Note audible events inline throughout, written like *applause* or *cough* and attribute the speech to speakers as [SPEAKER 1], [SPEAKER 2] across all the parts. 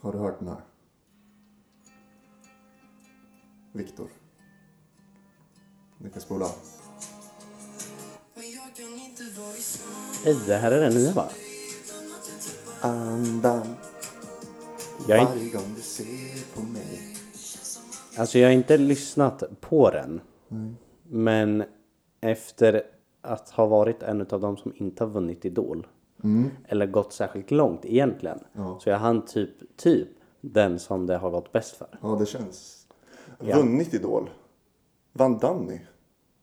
[SPEAKER 1] Har du hört den här? Viktor. Ni kan spola.
[SPEAKER 2] Hej, det här är den nya va?
[SPEAKER 1] Andan
[SPEAKER 2] Jag är,
[SPEAKER 1] varje gång du ser på mig.
[SPEAKER 2] alltså jag har inte lyssnat på den. Men efter att ha varit en av de som inte har vunnit Idol. Eller gått särskilt långt egentligen.
[SPEAKER 1] Mm. Ja.
[SPEAKER 2] Så jag hann typ, typ den som det har gått bäst för.
[SPEAKER 1] Ja, det känns.
[SPEAKER 2] Ja.
[SPEAKER 1] Vunnit Idol. Vann Danny?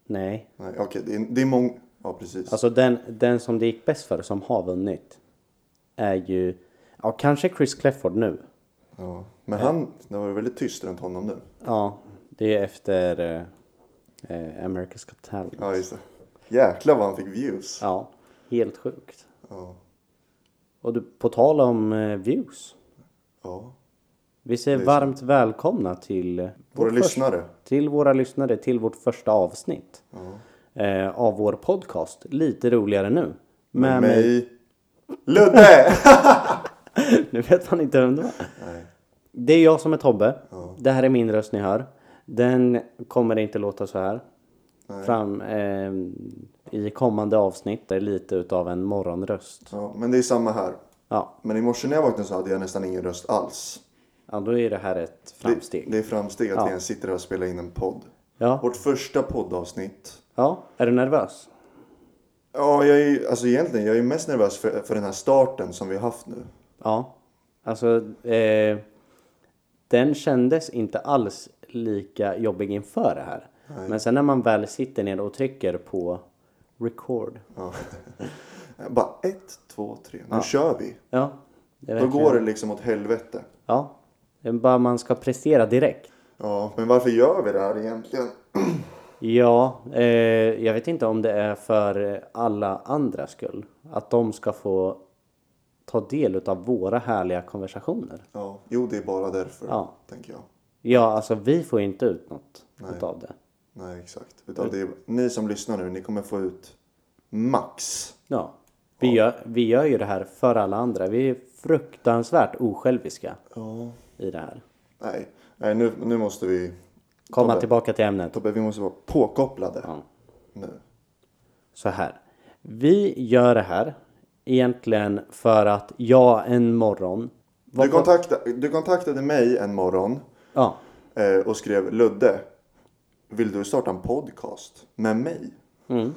[SPEAKER 2] Nej,
[SPEAKER 1] Nej, okej. det är, det är många... Ja, precis.
[SPEAKER 2] Alltså den, den som det gick bäst för som har vunnit är ju, ja kanske Chris Clefford nu.
[SPEAKER 1] ja. Men han... Det var väldigt tyst runt honom nu.
[SPEAKER 2] Ja, det är efter eh, eh, America's Got Talent.
[SPEAKER 1] Ja, just det. Jäklar vad han fick views.
[SPEAKER 2] Ja, helt sjukt.
[SPEAKER 1] Ja.
[SPEAKER 2] Och du, på tal om eh, views.
[SPEAKER 1] ja.
[SPEAKER 2] Vi säger varmt välkomna till eh,
[SPEAKER 1] Våra
[SPEAKER 2] vårt första-
[SPEAKER 1] lyssnare.
[SPEAKER 2] till våra lyssnare till vårt första avsnitt eh, av vår podcast Lite roligare nu. Med mig.
[SPEAKER 1] Mig.
[SPEAKER 2] *laughs*
[SPEAKER 1] Ludde!
[SPEAKER 2] eh, Nu vet man inte vem det var.
[SPEAKER 1] Nej.
[SPEAKER 2] Det är jag som är Tobbe. Det här är min röst ni hör. Den kommer inte låta så här. Fram eh, i kommande avsnitt är lite utav en morgonröst.
[SPEAKER 1] Ja, men det är samma här.
[SPEAKER 2] Ja,
[SPEAKER 1] Men i morse när jag vaknade så hade jag nästan ingen röst alls.
[SPEAKER 2] ja då är det här ett
[SPEAKER 1] Det,
[SPEAKER 2] framsteg.
[SPEAKER 1] det är framsteg att vi ens sitter här och spelar in en podd.
[SPEAKER 2] Ja,
[SPEAKER 1] Vårt första poddavsnitt.
[SPEAKER 2] ja. är du nervös?
[SPEAKER 1] Ja, jag är alltså egentligen jag är mest nervös för, för den här starten som vi har haft nu.
[SPEAKER 2] Ja, alltså eh, den kändes inte alls lika jobbig inför det här. Men sen när man väl sitter ner och trycker på record.
[SPEAKER 1] Ja. *laughs* Bara ett, två, tre. Nu kör vi.
[SPEAKER 2] Ja, det är
[SPEAKER 1] Då
[SPEAKER 2] verkligen-
[SPEAKER 1] går det liksom åt helvete.
[SPEAKER 2] Ja, det är bara man ska prestera direkt.
[SPEAKER 1] Ja, men varför gör vi det här egentligen?
[SPEAKER 2] Ja, eh, jag vet inte om det är för eh, alla andra skull. Att de ska få ta del av våra härliga konversationer.
[SPEAKER 1] Ja, jo, det är bara därför.
[SPEAKER 2] Ja.
[SPEAKER 1] Tänker jag.
[SPEAKER 2] Ja, alltså vi får inte ut något
[SPEAKER 1] Nej.
[SPEAKER 2] utav det.
[SPEAKER 1] Nej, exakt. Utan det är, ni som lyssnar nu, ni kommer få ut max.
[SPEAKER 2] Ja. Vi, Gör, vi gör ju det här för alla andra. Vi är fruktansvärt osjälviska
[SPEAKER 1] Ja.
[SPEAKER 2] i det här.
[SPEAKER 1] Nej, Nej nu, nu måste vi...
[SPEAKER 2] Komma
[SPEAKER 1] Tobbe.
[SPEAKER 2] tillbaka till ämnet.
[SPEAKER 1] Tobbe, vi måste vara påkopplade
[SPEAKER 2] Ja.
[SPEAKER 1] nu.
[SPEAKER 2] så här. Vi gör det här egentligen för att jag en morgon...
[SPEAKER 1] Du, kontakta, du kontaktade mig en morgon
[SPEAKER 2] Ja,
[SPEAKER 1] eh, och skrev Ludde, vill du starta en podcast med mig?
[SPEAKER 2] Mm.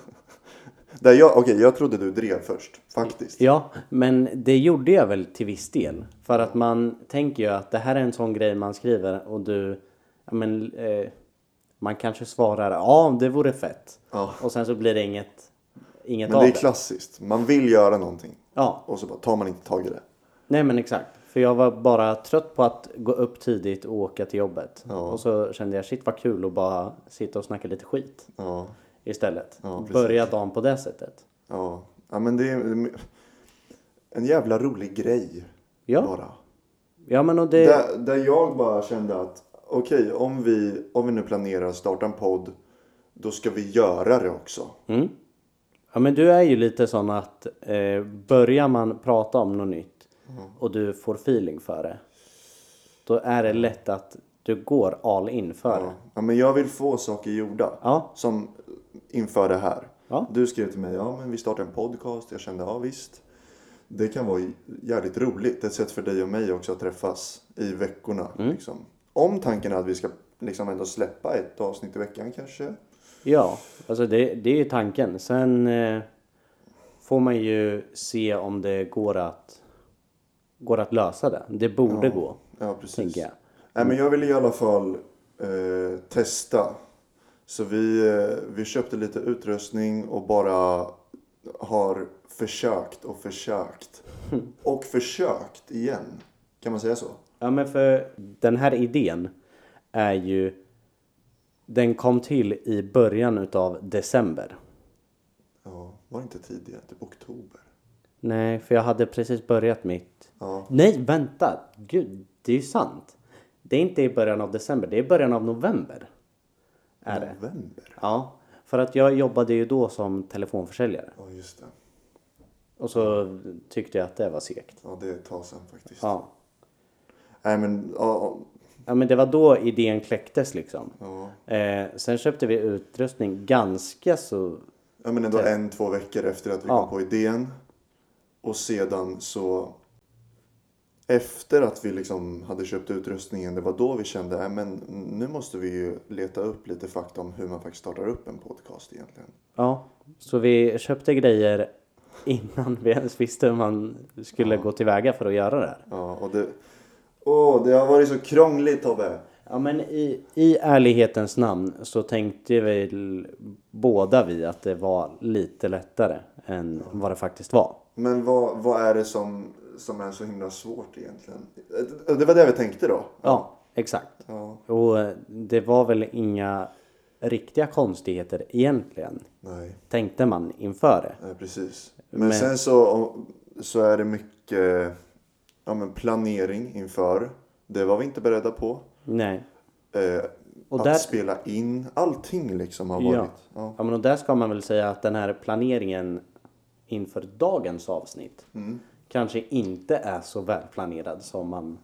[SPEAKER 1] *laughs* Där jag, Okej, jag trodde du drev först, faktiskt.
[SPEAKER 2] Ja, men det gjorde jag väl till viss del. För att man tänker ju att det här är en sån grej man skriver och du... Ja, men, eh, man kanske svarar ja, det vore fett.
[SPEAKER 1] Ja.
[SPEAKER 2] Och sen så blir det inget, inget
[SPEAKER 1] Men
[SPEAKER 2] av
[SPEAKER 1] det är
[SPEAKER 2] det.
[SPEAKER 1] klassiskt. Man vill göra någonting
[SPEAKER 2] Ja,
[SPEAKER 1] och så bara tar man inte tag i det.
[SPEAKER 2] nej men exakt. För jag var bara trött på att gå upp tidigt och åka till jobbet. Och så kände jag shit vad kul att bara sitta och snacka lite skit
[SPEAKER 1] Ja,
[SPEAKER 2] istället.
[SPEAKER 1] Ja, precis.
[SPEAKER 2] Börja dagen på det sättet.
[SPEAKER 1] ja. ja men det är en jävla rolig grej.
[SPEAKER 2] Ja.
[SPEAKER 1] Bara.
[SPEAKER 2] Ja men och det...
[SPEAKER 1] Där, där jag bara kände att okej, om, vi, om vi nu planerar att starta en podd, då ska vi göra det också.
[SPEAKER 2] Ja men du är ju lite sån att eh, börjar man prata om något nytt och du får feeling för det. Då är det lätt att du går all in för det.
[SPEAKER 1] Ja, men jag vill få saker gjorda.
[SPEAKER 2] Ja.
[SPEAKER 1] Som inför det här.
[SPEAKER 2] Ja.
[SPEAKER 1] Du skrev till mig, ja men vi startar en podcast. Jag kände, ja visst. Det kan vara jävligt roligt. Ett sätt för dig och mig också att träffas i veckorna.
[SPEAKER 2] Mm.
[SPEAKER 1] Liksom. Om tanken är att vi ska liksom ändå släppa ett avsnitt i veckan kanske.
[SPEAKER 2] Ja, alltså det, det är ju tanken. Sen eh, får man ju se om det går att, går att lösa det. Det borde gå,
[SPEAKER 1] Ja, precis.
[SPEAKER 2] tänker jag.
[SPEAKER 1] Nej, men jag ville i alla fall eh, testa. Så vi, eh, vi köpte lite utrustning och bara har försökt och
[SPEAKER 2] *laughs*
[SPEAKER 1] försökt. Och försökt igen. Kan man säga så?
[SPEAKER 2] Ja men för den här idén är ju... Den kom till i början utav december.
[SPEAKER 1] Ja, var det inte tidigare? Typ oktober?
[SPEAKER 2] Nej, för jag hade precis börjat mitt...
[SPEAKER 1] Ja.
[SPEAKER 2] Nej, vänta! Gud, det är ju sant. Det är inte i början av december, det är i början av november. Är det?
[SPEAKER 1] November?
[SPEAKER 2] Ja, för att jag jobbade ju då som telefonförsäljare.
[SPEAKER 1] Ja, just det.
[SPEAKER 2] Och så tyckte jag att det var segt.
[SPEAKER 1] Ja, det är ett tag sedan faktiskt.
[SPEAKER 2] Ja.
[SPEAKER 1] Nej men, ja.
[SPEAKER 2] Ja, men det var då idén kläcktes liksom.
[SPEAKER 1] ja.
[SPEAKER 2] Eh, sen köpte vi utrustning ganska så...
[SPEAKER 1] Ja men ändå en, två veckor efter att vi
[SPEAKER 2] Ja.
[SPEAKER 1] kom på idén. Och sedan så... Efter att vi liksom hade köpt utrustningen, det var då vi kände att men nu måste vi ju leta upp lite fakta om hur man faktiskt startar upp en podcast egentligen.
[SPEAKER 2] Ja, så vi köpte grejer innan vi ens visste hur man skulle gå tillväga för att göra det här.
[SPEAKER 1] Ja, och det... Åh, det har varit så krångligt Tobbe!
[SPEAKER 2] Ja, men i, i ärlighetens namn så tänkte väl båda vi att det var lite lättare än vad det faktiskt var.
[SPEAKER 1] Men vad, vad är det som, som är så himla svårt egentligen? Det- Det var det vi tänkte då.
[SPEAKER 2] Ja, exakt.
[SPEAKER 1] Ja,
[SPEAKER 2] Och eh, det var väl inga riktiga konstigheter egentligen,
[SPEAKER 1] nej.
[SPEAKER 2] tänkte man inför det.
[SPEAKER 1] Nej, precis. Men,
[SPEAKER 2] Men-
[SPEAKER 1] sen så, så är det mycket ja, men planering inför. Det var vi inte beredda på.
[SPEAKER 2] Nej.
[SPEAKER 1] Eh,
[SPEAKER 2] Och
[SPEAKER 1] att
[SPEAKER 2] där-
[SPEAKER 1] spela in. Allting liksom har varit.
[SPEAKER 2] Ja.
[SPEAKER 1] Ja.
[SPEAKER 2] ja, men och där ska man väl säga att den här planeringen inför dagens avsnitt
[SPEAKER 1] Mm.
[SPEAKER 2] kanske inte är så välplanerad som man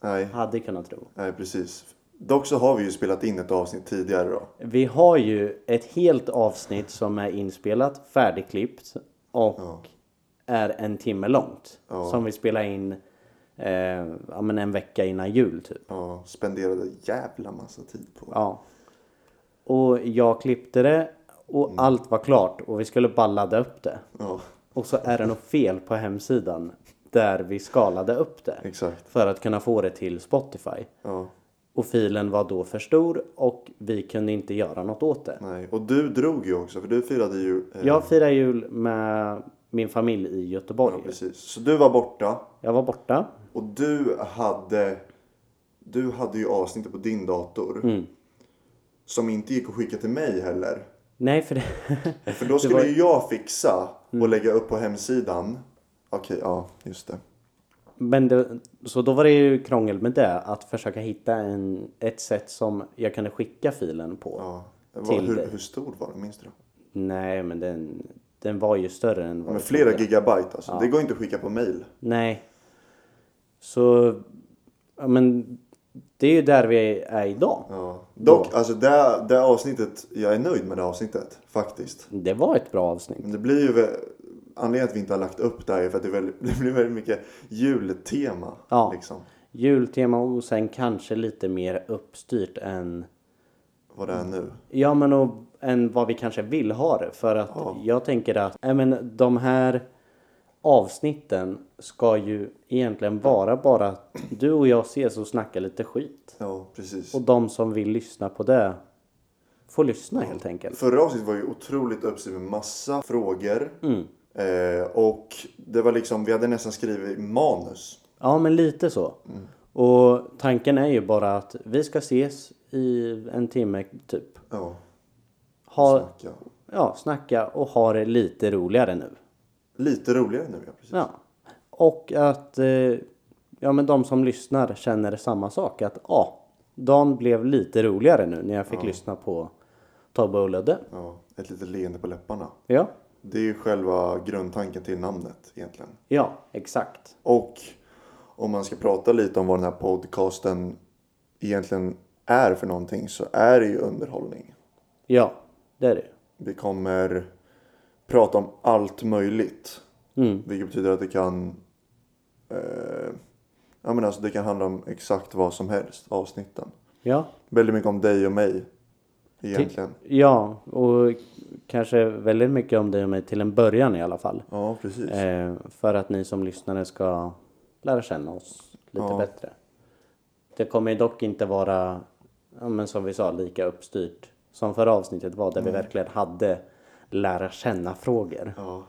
[SPEAKER 1] Nej,
[SPEAKER 2] hade kunnat tro.
[SPEAKER 1] nej, precis. Dock så har vi ju spelat in ett avsnitt tidigare då.
[SPEAKER 2] Vi har ju ett helt avsnitt som är inspelat, färdigklippt och är en timme långt. Som vi spelar in eh, ja, men en vecka innan jul typ.
[SPEAKER 1] Ja, spenderade jävla massa tid på.
[SPEAKER 2] Ja. Och jag klippte det och allt var klart och vi skulle bara ladda upp det.
[SPEAKER 1] Ja,
[SPEAKER 2] Och så är det något fel på hemsidan där vi skalade upp det.
[SPEAKER 1] exakt.
[SPEAKER 2] För att kunna få det till Spotify.
[SPEAKER 1] Ja,
[SPEAKER 2] Och filen var då för stor och vi kunde inte göra något åt det.
[SPEAKER 1] nej. Och du drog ju också för du firade ju. Eh,
[SPEAKER 2] Jag firar jul med min familj i Göteborg.
[SPEAKER 1] Precis. Så du var borta.
[SPEAKER 2] jag var borta.
[SPEAKER 1] Och du hade, du hade ju avsnittet på din dator.
[SPEAKER 2] Mm.
[SPEAKER 1] Som inte gick att skicka till mig heller.
[SPEAKER 2] Nej, för det... *laughs* Mm.
[SPEAKER 1] För då skulle ju jag fixa och lägga upp på hemsidan. Okej, ja just det.
[SPEAKER 2] Men det, så då var det ju krångel med det. Att försöka hitta en, ett sätt som jag kunde skicka filen på.
[SPEAKER 1] Ja. Det var,
[SPEAKER 2] Till
[SPEAKER 1] hur,
[SPEAKER 2] dig.
[SPEAKER 1] hur stor var den, minns du? det?
[SPEAKER 2] Nej, men den, den var ju större än vad
[SPEAKER 1] Men
[SPEAKER 2] vi
[SPEAKER 1] flera
[SPEAKER 2] trodde.
[SPEAKER 1] gigabyte alltså. Det går inte att skicka på mail.
[SPEAKER 2] Nej. Så... Ja, men det är ju där vi är idag.
[SPEAKER 1] Ja. Dock, alltså det, det avsnittet, jag är nöjd med det avsnittet faktiskt.
[SPEAKER 2] Det var ett bra avsnitt.
[SPEAKER 1] Men det blir ju, vä- anledningen att vi inte har lagt upp det här är för att det, är väldigt, *laughs* det blir väldigt mycket jultema.
[SPEAKER 2] Ja.
[SPEAKER 1] Liksom.
[SPEAKER 2] Jultema och sen kanske lite mer uppstyrt än...
[SPEAKER 1] Vad det är nu.
[SPEAKER 2] Ja, men och, än vad vi kanske vill ha det. För att jag tänker att ja, men, de här avsnitten ska ju egentligen vara bara att du och jag ses och snackar lite skit.
[SPEAKER 1] Ja, precis.
[SPEAKER 2] Och de som vill lyssna på det får lyssna helt enkelt.
[SPEAKER 1] Förra avsnittet var ju otroligt uppstyrt med massa frågor.
[SPEAKER 2] Mm.
[SPEAKER 1] Eh, och det var liksom, vi hade nästan skrivit manus.
[SPEAKER 2] Ja, men lite så. Och tanken är ju bara att vi ska ses i en timme typ.
[SPEAKER 1] Ja,
[SPEAKER 2] Ha,
[SPEAKER 1] snacka.
[SPEAKER 2] Ja, snacka och ha det lite roligare nu.
[SPEAKER 1] Lite roligare nu, ja. Precis.
[SPEAKER 2] Ja. Och att eh, ja, men de som lyssnar känner samma sak. Att ja, dagen blev lite roligare nu när jag fick lyssna på Tobbe och Ludde.
[SPEAKER 1] Ja, ett litet leende på läpparna.
[SPEAKER 2] Ja,
[SPEAKER 1] Det är ju själva grundtanken till namnet egentligen.
[SPEAKER 2] ja, exakt.
[SPEAKER 1] Och om man ska prata lite om vad den här podcasten egentligen är för någonting så är det ju underhållning.
[SPEAKER 2] Ja, det är det.
[SPEAKER 1] Vi kommer prata om allt möjligt.
[SPEAKER 2] Mm.
[SPEAKER 1] Vilket betyder att det kan... Eh, ja, men alltså det kan handla om exakt vad som helst, avsnitten.
[SPEAKER 2] Ja.
[SPEAKER 1] Väldigt mycket om dig och mig. Egentligen.
[SPEAKER 2] ja, och kanske väldigt mycket om dig och mig till en början i alla fall.
[SPEAKER 1] Ja, precis.
[SPEAKER 2] Eh, för att ni som lyssnare ska lära känna oss lite
[SPEAKER 1] Ja.
[SPEAKER 2] bättre. Det kommer ju dock inte vara, ja, men som vi sa, lika uppstyrt som förra avsnittet var där vi verkligen hade lära känna frågor.
[SPEAKER 1] Ja,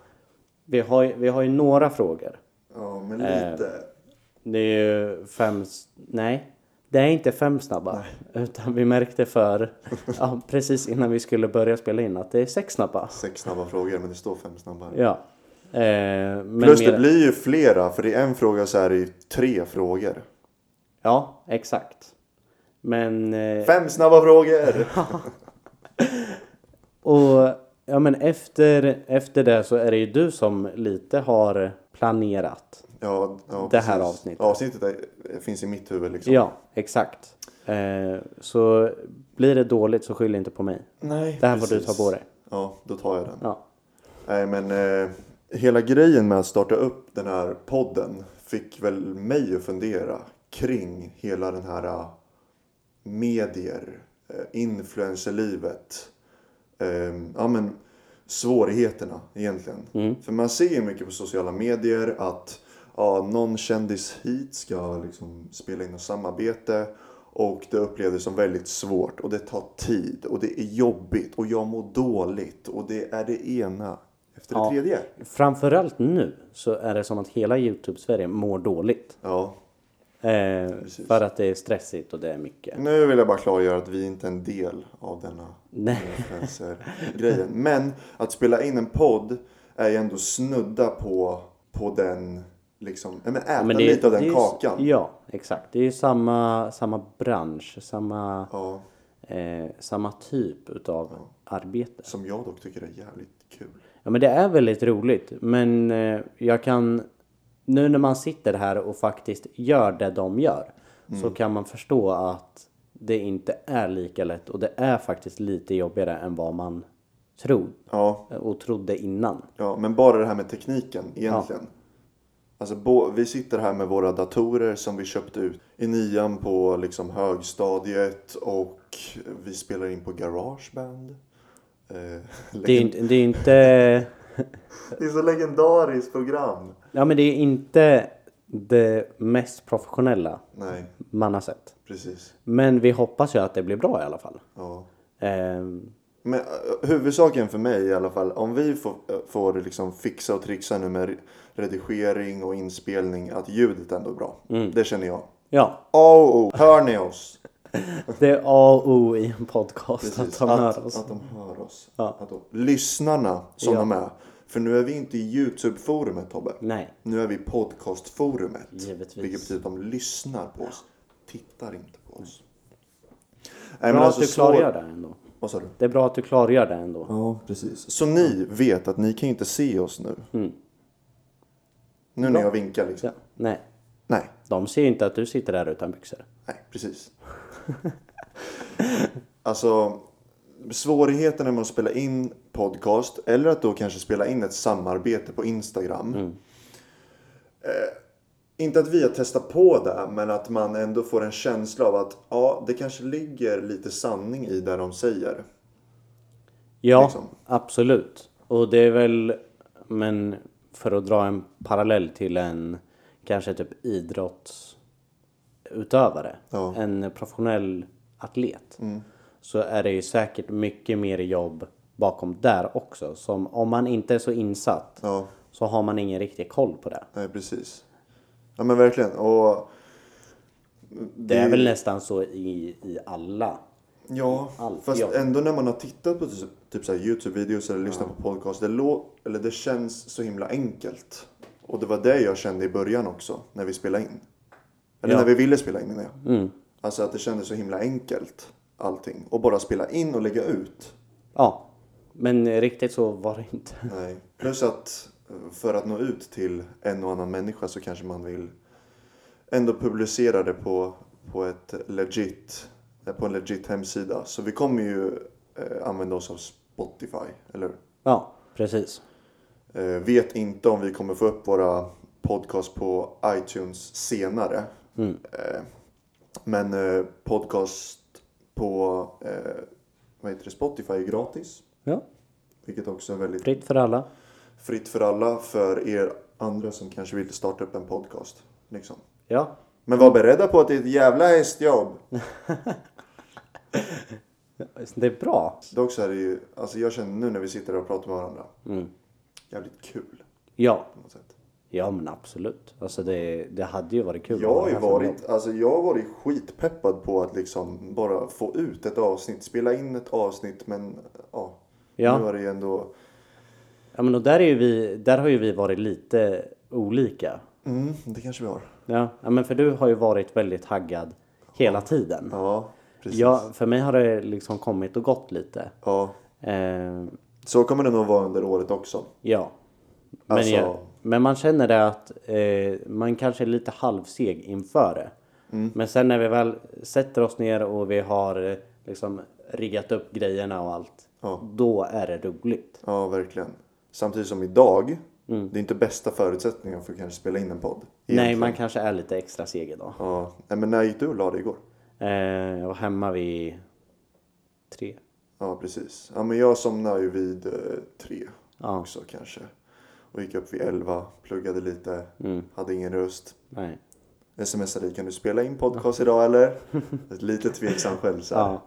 [SPEAKER 2] Vi, har, ju- vi har ju några frågor.
[SPEAKER 1] ja men lite.
[SPEAKER 2] Eh. Det är ju fem, s- nej, det är inte fem snabba. *laughs* Utan vi märkte för, ja, precis innan vi skulle börja spela in att det är sex snabba.
[SPEAKER 1] Sex snabba frågor, men det står fem snabba. här.
[SPEAKER 2] Ja. Eh, men
[SPEAKER 1] Plus
[SPEAKER 2] mer-
[SPEAKER 1] det blir ju flera, för i en fråga så är det ju tre frågor.
[SPEAKER 2] Ja, exakt. Men... eh,
[SPEAKER 1] Fem snabba
[SPEAKER 2] *laughs*
[SPEAKER 1] frågor!
[SPEAKER 2] Och ja, men efter, efter det så är det ju du som lite har planerat
[SPEAKER 1] Ja, ja,
[SPEAKER 2] Det här
[SPEAKER 1] precis.
[SPEAKER 2] avsnittet.
[SPEAKER 1] Avsnittet är, finns i mitt huvud liksom.
[SPEAKER 2] Ja, exakt. Eh, så blir det dåligt så skyll inte på mig.
[SPEAKER 1] Nej,
[SPEAKER 2] Det här får du
[SPEAKER 1] precis.
[SPEAKER 2] ta på dig.
[SPEAKER 1] Ja, då tar jag den.
[SPEAKER 2] Ja.
[SPEAKER 1] Nej, men eh, hela grejen med att starta upp den här podden fick väl mig att fundera kring hela den här eh, medier, eh, influencerlivet. Eh, ja, men svårigheterna egentligen.
[SPEAKER 2] Mm.
[SPEAKER 1] För man ser ju mycket på sociala medier att ja, någon kändis hit ska liksom spela in ett samarbete. Och det upplevdes som väldigt svårt och det tar tid och det är jobbigt och jag mår dåligt och det är det ena efter det
[SPEAKER 2] Ja.
[SPEAKER 1] tredje.
[SPEAKER 2] Framförallt nu så är det som att hela Youtube-Sverige mår dåligt.
[SPEAKER 1] Ja.
[SPEAKER 2] Eh, för att det är stressigt och det är mycket.
[SPEAKER 1] Nu vill jag bara klargöra att vi inte är en del av denna *laughs* influencer-grejen. Men att spela in en podd är ju ändå snudda på, på den, liksom, ja, men äta
[SPEAKER 2] Men är-
[SPEAKER 1] lite av
[SPEAKER 2] det
[SPEAKER 1] den
[SPEAKER 2] är ju-
[SPEAKER 1] kakan.
[SPEAKER 2] Ja, exakt. Det är ju samma, samma bransch, samma,
[SPEAKER 1] Ja,
[SPEAKER 2] eh, samma typ utav arbete.
[SPEAKER 1] som jag dock tycker är jävligt kul.
[SPEAKER 2] Ja men det är väldigt roligt. Men eh, jag kan... Nu när man sitter här och faktiskt gör det de gör.
[SPEAKER 1] Mm.
[SPEAKER 2] Så kan man förstå att det inte är lika lätt. Och det är faktiskt lite jobbigare än vad man tror.
[SPEAKER 1] Ja,
[SPEAKER 2] Och trodde innan.
[SPEAKER 1] ja, men bara det här med tekniken egentligen. Alltså, bo, vi sitter här med våra datorer som vi köpte ut i nian på liksom, högstadiet och vi spelar in på Garageband. Eh, *laughs*
[SPEAKER 2] Det är,
[SPEAKER 1] legend-
[SPEAKER 2] inte- det är inte...
[SPEAKER 1] det är så legendariskt program.
[SPEAKER 2] Ja men det är inte det mest professionella
[SPEAKER 1] Nej,
[SPEAKER 2] man har sett.
[SPEAKER 1] precis.
[SPEAKER 2] Men vi hoppas ju att det blir bra i alla fall.
[SPEAKER 1] Ja.
[SPEAKER 2] Ehm,
[SPEAKER 1] Men eh, huvudsaken för mig i alla fall, om vi får, eh, får liksom fixa och trixa nu med re- redigering och inspelning, att ljudet ändå är bra.
[SPEAKER 2] Mm.
[SPEAKER 1] Det känner jag.
[SPEAKER 2] ja,
[SPEAKER 1] Oh, oh. Hör ni
[SPEAKER 2] *laughs*
[SPEAKER 1] oss?
[SPEAKER 2] det är A och O i en podcast
[SPEAKER 1] Precis,
[SPEAKER 2] att de
[SPEAKER 1] att,
[SPEAKER 2] hör oss.
[SPEAKER 1] att de hör oss.
[SPEAKER 2] Ja.
[SPEAKER 1] Att de, lyssnarna som
[SPEAKER 2] Ja.
[SPEAKER 1] de är. För nu är vi inte i Youtube-forumet Tobbe.
[SPEAKER 2] Nej.
[SPEAKER 1] Nu är vi i podcastforumet.
[SPEAKER 2] Givetvis.
[SPEAKER 1] Vilket betyder att de lyssnar på oss. Tittar inte på oss. Nej,
[SPEAKER 2] Bra
[SPEAKER 1] men alltså,
[SPEAKER 2] att du
[SPEAKER 1] slå-
[SPEAKER 2] klargör det ändå.
[SPEAKER 1] Vad sa du?
[SPEAKER 2] Det är bra att du klargör det ändå.
[SPEAKER 1] Ja, precis. Så ni vet att ni kan ju inte se oss nu. Nu när jag vinkar liksom.
[SPEAKER 2] Mm. Ja. Nej,
[SPEAKER 1] Nej,
[SPEAKER 2] de ser ju inte att du sitter där utan byxor.
[SPEAKER 1] nej, precis. *laughs* alltså, svårigheterna med att spela in podcast eller att då kanske spela in ett samarbete på Instagram. Eh, inte att vi har testat på det, men att man ändå får en känsla av att ja, det kanske ligger lite sanning i det de säger.
[SPEAKER 2] Ja,
[SPEAKER 1] Liksom.
[SPEAKER 2] absolut. Och det är väl, men för att dra en parallell till en kanske typ idrottsutövare,
[SPEAKER 1] Ja. Mm.
[SPEAKER 2] en professionell atlet, så är det ju säkert mycket mer jobb bakom där också. Som om man inte är så insatt
[SPEAKER 1] Ja.
[SPEAKER 2] så har man ingen riktig koll på det.
[SPEAKER 1] Nej, precis. Ja, men verkligen. Och
[SPEAKER 2] Det är väl nästan så i, i alla.
[SPEAKER 1] ja,
[SPEAKER 2] Allt,
[SPEAKER 1] fast
[SPEAKER 2] ja.
[SPEAKER 1] ändå när man har tittat på typ, typ så här Youtube-videos eller lyssnat på podcast. Det, lå- eller det känns så himla enkelt. Och det var det jag kände i början också, när vi spelade in. Eller
[SPEAKER 2] Ja.
[SPEAKER 1] när
[SPEAKER 2] Mm.
[SPEAKER 1] vi ville spela in, menar jag. Alltså att det kändes så himla enkelt, allting. Och bara spela in och lägga ut.
[SPEAKER 2] Ja, men riktigt så var det inte.
[SPEAKER 1] Nej. Plus att eh, för att nå ut till en och annan människa så kanske man vill ändå publicera det på, på, ett legit, eh, på en legit hemsida. Så vi kommer ju eh, använda oss av Spotify, eller hur?
[SPEAKER 2] Ja, precis.
[SPEAKER 1] Eh, vet inte om vi kommer få upp våra podcast på iTunes senare. Eh, men eh, podcast på eh, vad heter det? Spotify är gratis.
[SPEAKER 2] Ja,
[SPEAKER 1] Vilket också är väldigt
[SPEAKER 2] fritt för alla.
[SPEAKER 1] fritt för alla för er andra som kanske vill starta upp en podcast. Liksom.
[SPEAKER 2] Ja,
[SPEAKER 1] Men var beredda på att det är ett jävla hästjobb.
[SPEAKER 2] det är bra.
[SPEAKER 1] Dock så är det ju, alltså jag känner nu när vi sitter här och pratar med varandra.
[SPEAKER 2] Mm.
[SPEAKER 1] Jävligt kul
[SPEAKER 2] Ja,
[SPEAKER 1] på något sätt.
[SPEAKER 2] ja men absolut. Alltså det, det hade ju varit kul.
[SPEAKER 1] Jag har
[SPEAKER 2] att
[SPEAKER 1] ju
[SPEAKER 2] vara här för dem.
[SPEAKER 1] varit, alltså jag har varit skitpeppad på att liksom bara få ut ett avsnitt, spela in ett avsnitt men ja.
[SPEAKER 2] Ja.
[SPEAKER 1] Nu har det ju ändå,
[SPEAKER 2] Ja, men och där, är ju vi, där har ju vi varit lite olika.
[SPEAKER 1] mm, det kanske vi har.
[SPEAKER 2] Ja, ja men för du har ju varit väldigt haggad hela tiden.
[SPEAKER 1] Ja, precis.
[SPEAKER 2] Ja, för mig har det liksom kommit och gått lite.
[SPEAKER 1] ja.
[SPEAKER 2] Eh,
[SPEAKER 1] Så kommer det nog vara under året också.
[SPEAKER 2] ja. Men
[SPEAKER 1] Alltså,
[SPEAKER 2] jag, Men man känner det att eh, man kanske är lite halvseg inför det.
[SPEAKER 1] Mm.
[SPEAKER 2] Men sen när vi väl sätter oss ner och vi har eh, liksom riggat upp grejerna och allt.
[SPEAKER 1] Ja.
[SPEAKER 2] Då är det roligt.
[SPEAKER 1] Ja, verkligen. Samtidigt som idag, det är inte bästa förutsättningen för att kanske spela in en podd.
[SPEAKER 2] Mm. Nej, man kanske är lite extra seg idag.
[SPEAKER 1] Ja. Nej, men när gick du och la dig igår?
[SPEAKER 2] Eh, jag var hemma vid tre.
[SPEAKER 1] Ja, precis. Ja, men jag somnade ju vid eh, tre
[SPEAKER 2] Ja.
[SPEAKER 1] också kanske. Och gick upp vid elva, pluggade lite,
[SPEAKER 2] Mm.
[SPEAKER 1] hade ingen röst.
[SPEAKER 2] Nej.
[SPEAKER 1] Smsade dig, kan du spela in podcast idag
[SPEAKER 2] *laughs*
[SPEAKER 1] eller? Ett lite tveksam själv så här.
[SPEAKER 2] Ja.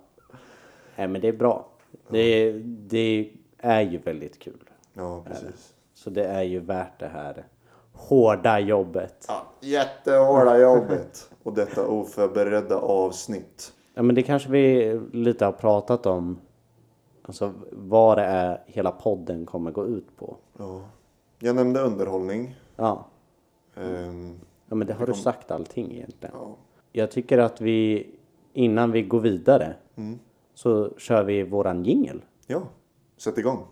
[SPEAKER 2] Nej, men det är bra. Det, det är ju väldigt kul.
[SPEAKER 1] ja, precis.
[SPEAKER 2] Så det är ju värt det här hårda jobbet.
[SPEAKER 1] Ja, jättehårda jobbet. Och detta oförberedda avsnitt.
[SPEAKER 2] Ja, men det kanske vi lite har pratat om. Alltså vad det är hela podden kommer gå ut på.
[SPEAKER 1] Ja. Jag nämnde underhållning.
[SPEAKER 2] Ja, Mm.
[SPEAKER 1] Ehm,
[SPEAKER 2] ja men det har du sagt allting egentligen.
[SPEAKER 1] ja.
[SPEAKER 2] Jag tycker att vi innan vi går vidare så kör vi våran jingel.
[SPEAKER 1] ja, sätt igång.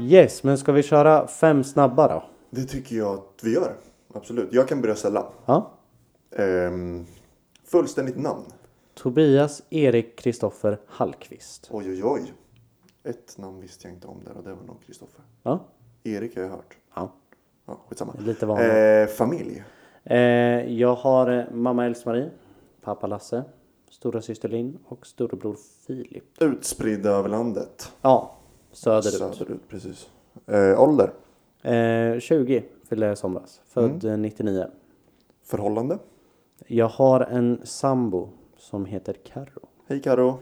[SPEAKER 2] Yes, men ska vi köra fem snabba då?
[SPEAKER 1] Det tycker jag att vi gör. Absolut. Jag kan börja ställa.
[SPEAKER 2] Ja.
[SPEAKER 1] Ehm, fullständigt namn.
[SPEAKER 2] Tobias Erik Kristoffer Hallqvist.
[SPEAKER 1] Oj, oj, oj. Ett namn visste jag inte om där och det var nog Kristoffer.
[SPEAKER 2] Ja.
[SPEAKER 1] Erik har jag hört.
[SPEAKER 2] ja.
[SPEAKER 1] Ja, skitsamma.
[SPEAKER 2] Lite vanligt.
[SPEAKER 1] Eh, familj.
[SPEAKER 2] Eh, jag har eh, mamma Else-Marie, pappa Lasse, stora syster Linn och storebror Filip.
[SPEAKER 1] Utspridda över landet.
[SPEAKER 2] Ja, söderut.
[SPEAKER 1] Söderut, precis. Eh, ålder.
[SPEAKER 2] Eh, 20 fyllde jag i somras. Född eh, 99.
[SPEAKER 1] Förhållande.
[SPEAKER 2] Jag har en sambo som heter Carro.
[SPEAKER 1] Hej Karo.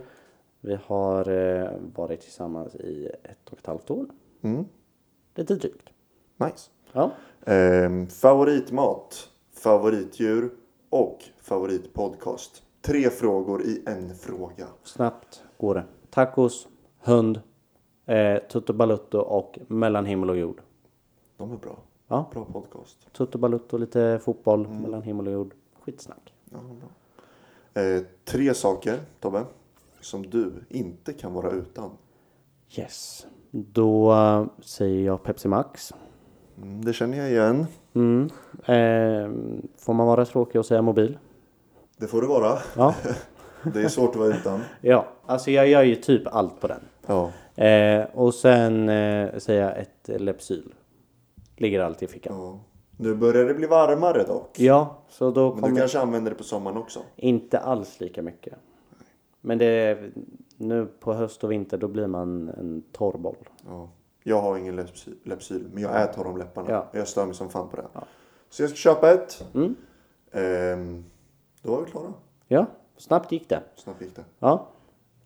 [SPEAKER 2] Vi har eh, varit tillsammans i ett och ett halvt år.
[SPEAKER 1] Mm.
[SPEAKER 2] Lite drygt.
[SPEAKER 1] Nice.
[SPEAKER 2] Ja.
[SPEAKER 1] Ehm, favoritmat, favoritdjur och favoritpodcast. Tre frågor i en fråga.
[SPEAKER 2] Snabbt går det. Tacos, hund, eh, Tutto Balutto och mellan himmel och jord.
[SPEAKER 1] De är bra.
[SPEAKER 2] Ja.
[SPEAKER 1] Bra podcast.
[SPEAKER 2] Tutto Balutto, lite fotboll, mellan himmel och jord. Skitsnack.
[SPEAKER 1] Ja, bra. Eh, tre saker, Tobbe, som du inte kan vara utan.
[SPEAKER 2] Yes. Då eh, säger jag Pepsi Max.
[SPEAKER 1] Mm, det känner jag igen.
[SPEAKER 2] Mm. Eh, får man vara tråkig och säga mobil?
[SPEAKER 1] Det får det vara. *laughs*
[SPEAKER 2] Ja.
[SPEAKER 1] Det är svårt att vara utan.
[SPEAKER 2] ja. Alltså jag gör ju typ allt på den.
[SPEAKER 1] *laughs* Ja.
[SPEAKER 2] Eh, och sen eh, säger jag ett Lepsyl. Ligger alltid i fickan.
[SPEAKER 1] ja. Nu börjar det bli varmare dock.
[SPEAKER 2] Ja, så då
[SPEAKER 1] Men du
[SPEAKER 2] kommer
[SPEAKER 1] kanske använder det på sommaren också?
[SPEAKER 2] inte alls lika mycket. Men det nu på höst och vinter då blir man en torr boll.
[SPEAKER 1] Ja. Jag har ingen läppsyl, läppsyl, men jag är torr om läpparna.
[SPEAKER 2] Ja.
[SPEAKER 1] Jag stör mig som fan på det. Så jag ska köpa ett.
[SPEAKER 2] Mm.
[SPEAKER 1] Ehm, då var vi klara.
[SPEAKER 2] Ja, snabbt gick det.
[SPEAKER 1] Snabbt gick det.
[SPEAKER 2] Ja.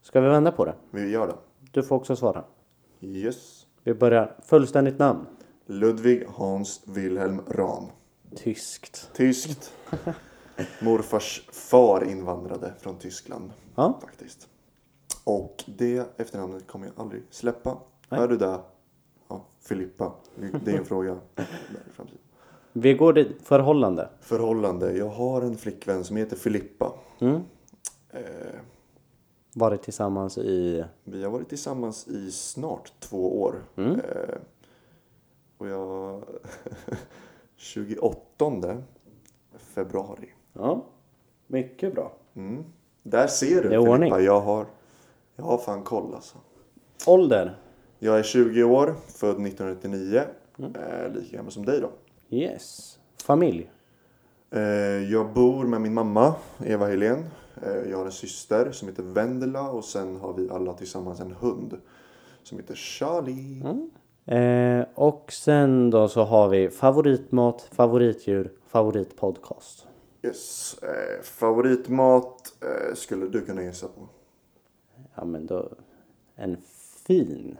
[SPEAKER 2] Ska vi vända på det?
[SPEAKER 1] Vi gör det.
[SPEAKER 2] Du får också svara.
[SPEAKER 1] Yes.
[SPEAKER 2] Vi börjar. Fullständigt namn?
[SPEAKER 1] Ludvig Hans Wilhelm Rahn.
[SPEAKER 2] Tyskt.
[SPEAKER 1] Tyskt. Morfars far invandrade från Tyskland.
[SPEAKER 2] Ja.
[SPEAKER 1] Faktiskt. Och det efternamnet kommer jag aldrig släppa. Hör du det? Ja, Filippa. Det är en fråga. Där i framtiden.
[SPEAKER 2] Vi går dit. Förhållande.
[SPEAKER 1] Förhållande. Jag har en flickvän som heter Filippa.
[SPEAKER 2] Mm.
[SPEAKER 1] Eh,
[SPEAKER 2] Varit tillsammans i...
[SPEAKER 1] vi har varit tillsammans i snart två år. Eh, och jag... *laughs* 28 februari.
[SPEAKER 2] Ja. Mycket bra.
[SPEAKER 1] Mm. Där ser du
[SPEAKER 2] Det är ordning.
[SPEAKER 1] Filippa, jag har, jag har fan koll alltså.
[SPEAKER 2] Ålder?
[SPEAKER 1] Jag är 20 år, född 1999.
[SPEAKER 2] Mm.
[SPEAKER 1] Eh, lika gammal som dig då.
[SPEAKER 2] Yes. Familj?
[SPEAKER 1] Eh, jag bor med min mamma, Eva Helén. Eh, jag har en syster som heter Vendela och sen har vi alla tillsammans en hund som heter Charlie.
[SPEAKER 2] Mm. Eh, och sen då så har vi favoritmat, favoritdjur, favoritpodcast.
[SPEAKER 1] Yes. Eh, favoritmat eh, skulle du kunna gissa på.
[SPEAKER 2] Ja men då... En fin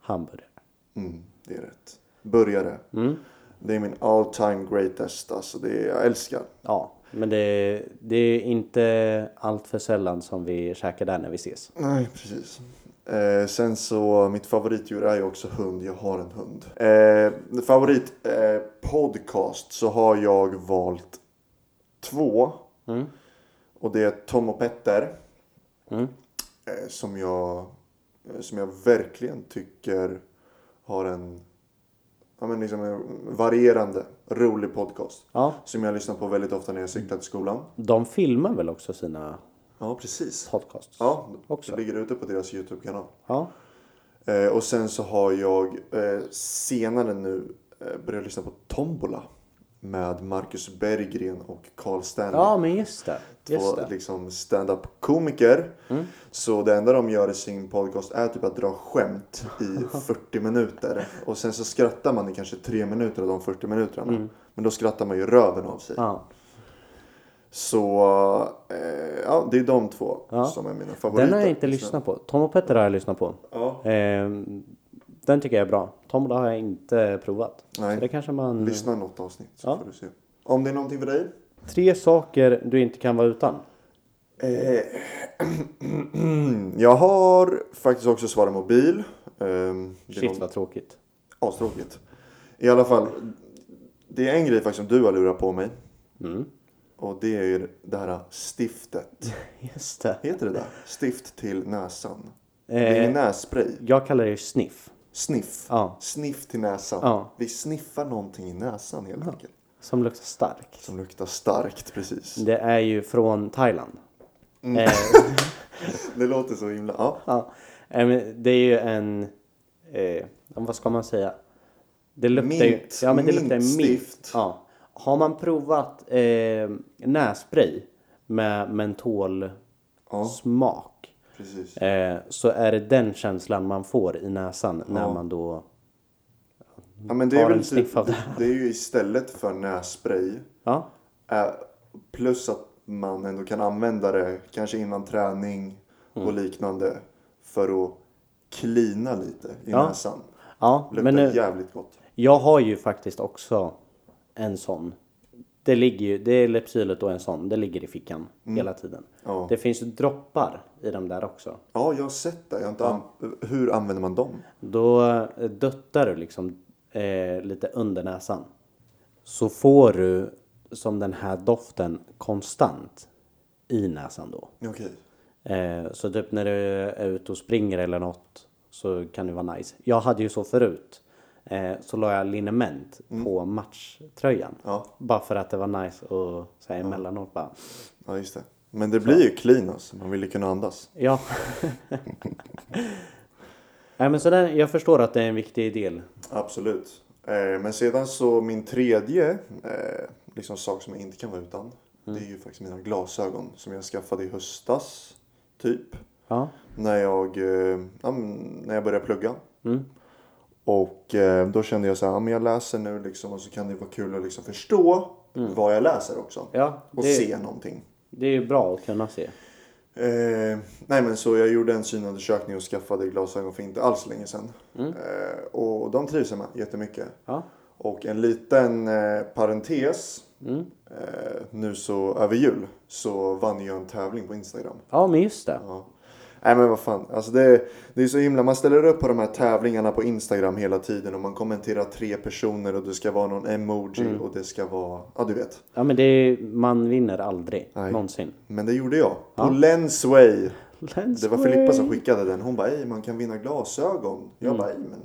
[SPEAKER 2] hamburgare.
[SPEAKER 1] Mm, det är rätt. Burgare.
[SPEAKER 2] Mm.
[SPEAKER 1] Det är min all time greatest. Alltså det är, jag älskar.
[SPEAKER 2] Ja, men det, det är inte allt för sällan som vi käkar där när vi ses.
[SPEAKER 1] Nej, precis. Eh, sen så, mitt favoritdjur är ju också hund. Jag har en hund. Eh, favorit eh, podcast så har jag valt två.
[SPEAKER 2] Mm.
[SPEAKER 1] Och det är Tom och Petter.
[SPEAKER 2] Mm.
[SPEAKER 1] Eh, som, jag, eh, som jag verkligen tycker har en, ja, men liksom en varierande, rolig podcast.
[SPEAKER 2] Ja,
[SPEAKER 1] Som jag lyssnar på väldigt ofta när jag cyklar till skolan.
[SPEAKER 2] de filmar väl också sina
[SPEAKER 1] Ja, precis.
[SPEAKER 2] podcasts?
[SPEAKER 1] Ja,
[SPEAKER 2] Också.
[SPEAKER 1] det ligger ute på deras YouTube-kanal.
[SPEAKER 2] Ja.
[SPEAKER 1] Eh, och sen så har jag eh, senare nu eh, börjat lyssna på Tombola. Med Marcus Berggren och Carl Stanley.
[SPEAKER 2] ja, men just det. Just
[SPEAKER 1] två
[SPEAKER 2] det. Mm.
[SPEAKER 1] liksom stand-up-komiker. Så det enda de gör i sin podcast är typ att dra skämt
[SPEAKER 2] *laughs*
[SPEAKER 1] i 40 minuter. Och sen så skrattar man i kanske 3 minuter av de 40 minuterna. Men då skrattar man ju röven av sig.
[SPEAKER 2] Mm. Ja.
[SPEAKER 1] Så eh, ja, det är de två
[SPEAKER 2] Ja.
[SPEAKER 1] som är mina favoriter.
[SPEAKER 2] Den har jag inte lyssnat på. Tom och Petter har jag lyssnat på.
[SPEAKER 1] Ja.
[SPEAKER 2] Ehm, den tycker jag är bra. Tom har jag inte provat.
[SPEAKER 1] Nej.
[SPEAKER 2] Så det kanske man...
[SPEAKER 1] Lyssna något avsnitt så
[SPEAKER 2] Ja.
[SPEAKER 1] får du se. Om det är någonting för dig?
[SPEAKER 2] Tre saker du inte kan vara utan.
[SPEAKER 1] Eh, Mm, jag har faktiskt också svarat mobil. Ehm, det är
[SPEAKER 2] Shit
[SPEAKER 1] någon-
[SPEAKER 2] vad tråkigt.
[SPEAKER 1] Astråkigt. I alla fall, det är en grej faktiskt som du har lurat på mig.
[SPEAKER 2] Mm.
[SPEAKER 1] Och det är ju det här stiftet.
[SPEAKER 2] Just det.
[SPEAKER 1] Heter det där? Stift till näsan. Det är ingen
[SPEAKER 2] Eh,
[SPEAKER 1] nässpray.
[SPEAKER 2] jag kallar det sniff.
[SPEAKER 1] Sniff.
[SPEAKER 2] Ja.
[SPEAKER 1] Sniff till näsan.
[SPEAKER 2] Ja.
[SPEAKER 1] Vi sniffar någonting i näsan helt enkelt.
[SPEAKER 2] Som luktar starkt.
[SPEAKER 1] Som luktar starkt, precis.
[SPEAKER 2] Det är ju från Thailand.
[SPEAKER 1] Mm. *laughs*
[SPEAKER 2] Eh,
[SPEAKER 1] Det låter så himla... Ja.
[SPEAKER 2] ja. Eh, men det är ju en... Eh, vad ska man säga? Det luktar ju...
[SPEAKER 1] Mint.
[SPEAKER 2] Ja men det luktar mint.
[SPEAKER 1] Mintstift.
[SPEAKER 2] Ja. Har man provat eh, nässpray med mentol
[SPEAKER 1] Ja,
[SPEAKER 2] smak
[SPEAKER 1] precis.
[SPEAKER 2] eh, så är det den känslan man får i näsan när man då...
[SPEAKER 1] Ja, men det är
[SPEAKER 2] tar
[SPEAKER 1] väl
[SPEAKER 2] en sniff
[SPEAKER 1] typ,
[SPEAKER 2] av det
[SPEAKER 1] det, det är ju istället för nässpray.
[SPEAKER 2] Ja,
[SPEAKER 1] Eh, Plus att man ändå kan använda det kanske innan träning
[SPEAKER 2] Mm.
[SPEAKER 1] och liknande för att klina lite i
[SPEAKER 2] Ja.
[SPEAKER 1] näsan.
[SPEAKER 2] ja
[SPEAKER 1] Luktar
[SPEAKER 2] men nu,
[SPEAKER 1] jävligt gott.
[SPEAKER 2] jag har ju faktiskt också en sån. Det ligger ju, det är Lypsylet och en sån, det ligger i fickan hela tiden.
[SPEAKER 1] Ja.
[SPEAKER 2] Det finns ju droppar i de där också.
[SPEAKER 1] Ja, jag har sett det. Jag har inte an- Hur använder man dem?
[SPEAKER 2] Då eh, duttar du liksom eh, lite under näsan. Så får du som den här doften konstant i näsan då.
[SPEAKER 1] Okej.
[SPEAKER 2] Eh, så typ när du är ute och springer eller något så kan det vara nice. Jag hade ju så förut. Eh, så la jag liniment
[SPEAKER 1] Mm.
[SPEAKER 2] på matchtröjan.
[SPEAKER 1] Ja.
[SPEAKER 2] Bara för att det var nice och så här emellanåt bara.
[SPEAKER 1] Ja, just det. Men det blir ju clean alltså. Man vill ju kunna andas.
[SPEAKER 2] Ja. *laughs* Nej men så den, jag förstår att det är en viktig del.
[SPEAKER 1] Absolut. Eh, men sedan så min tredje eh, liksom sak som jag inte kan vara utan.
[SPEAKER 2] Mm.
[SPEAKER 1] Det är ju faktiskt mina glasögon som jag skaffade i höstas. Typ.
[SPEAKER 2] Ja.
[SPEAKER 1] när jag, eh, ja, men när jag började plugga.
[SPEAKER 2] Mm.
[SPEAKER 1] Och eh, då kände jag så här, ja, men jag läser nu liksom och så kan det vara kul att liksom förstå vad jag läser också.
[SPEAKER 2] Mm. Ja,
[SPEAKER 1] och
[SPEAKER 2] det-
[SPEAKER 1] se någonting.
[SPEAKER 2] Det är ju bra att kunna se.
[SPEAKER 1] Eh, nej men så jag gjorde en synundersökning och skaffade glasögon för inte alls länge sedan.
[SPEAKER 2] Mm.
[SPEAKER 1] Eh, och de trivs jag med jättemycket.
[SPEAKER 2] Ja.
[SPEAKER 1] Och en liten eh, parentes.
[SPEAKER 2] Mm.
[SPEAKER 1] Eh, nu så över jul så vann jag en tävling på Instagram.
[SPEAKER 2] Ja, men just det.
[SPEAKER 1] Ja. Nej men vad fan. Alltså det, det är så himla. Man ställer upp på de här tävlingarna på Instagram hela tiden. Och man kommenterar tre personer. Och det ska vara någon emoji. Och det ska vara. Ja du vet.
[SPEAKER 2] Ja, men det är, man vinner aldrig.
[SPEAKER 1] Nej.
[SPEAKER 2] Någonsin.
[SPEAKER 1] Men det gjorde jag. På Lensway.
[SPEAKER 2] Let's
[SPEAKER 1] Det var Filippa som skickade den. Hon bara ej man kan vinna glasögon. Jag bara ej men.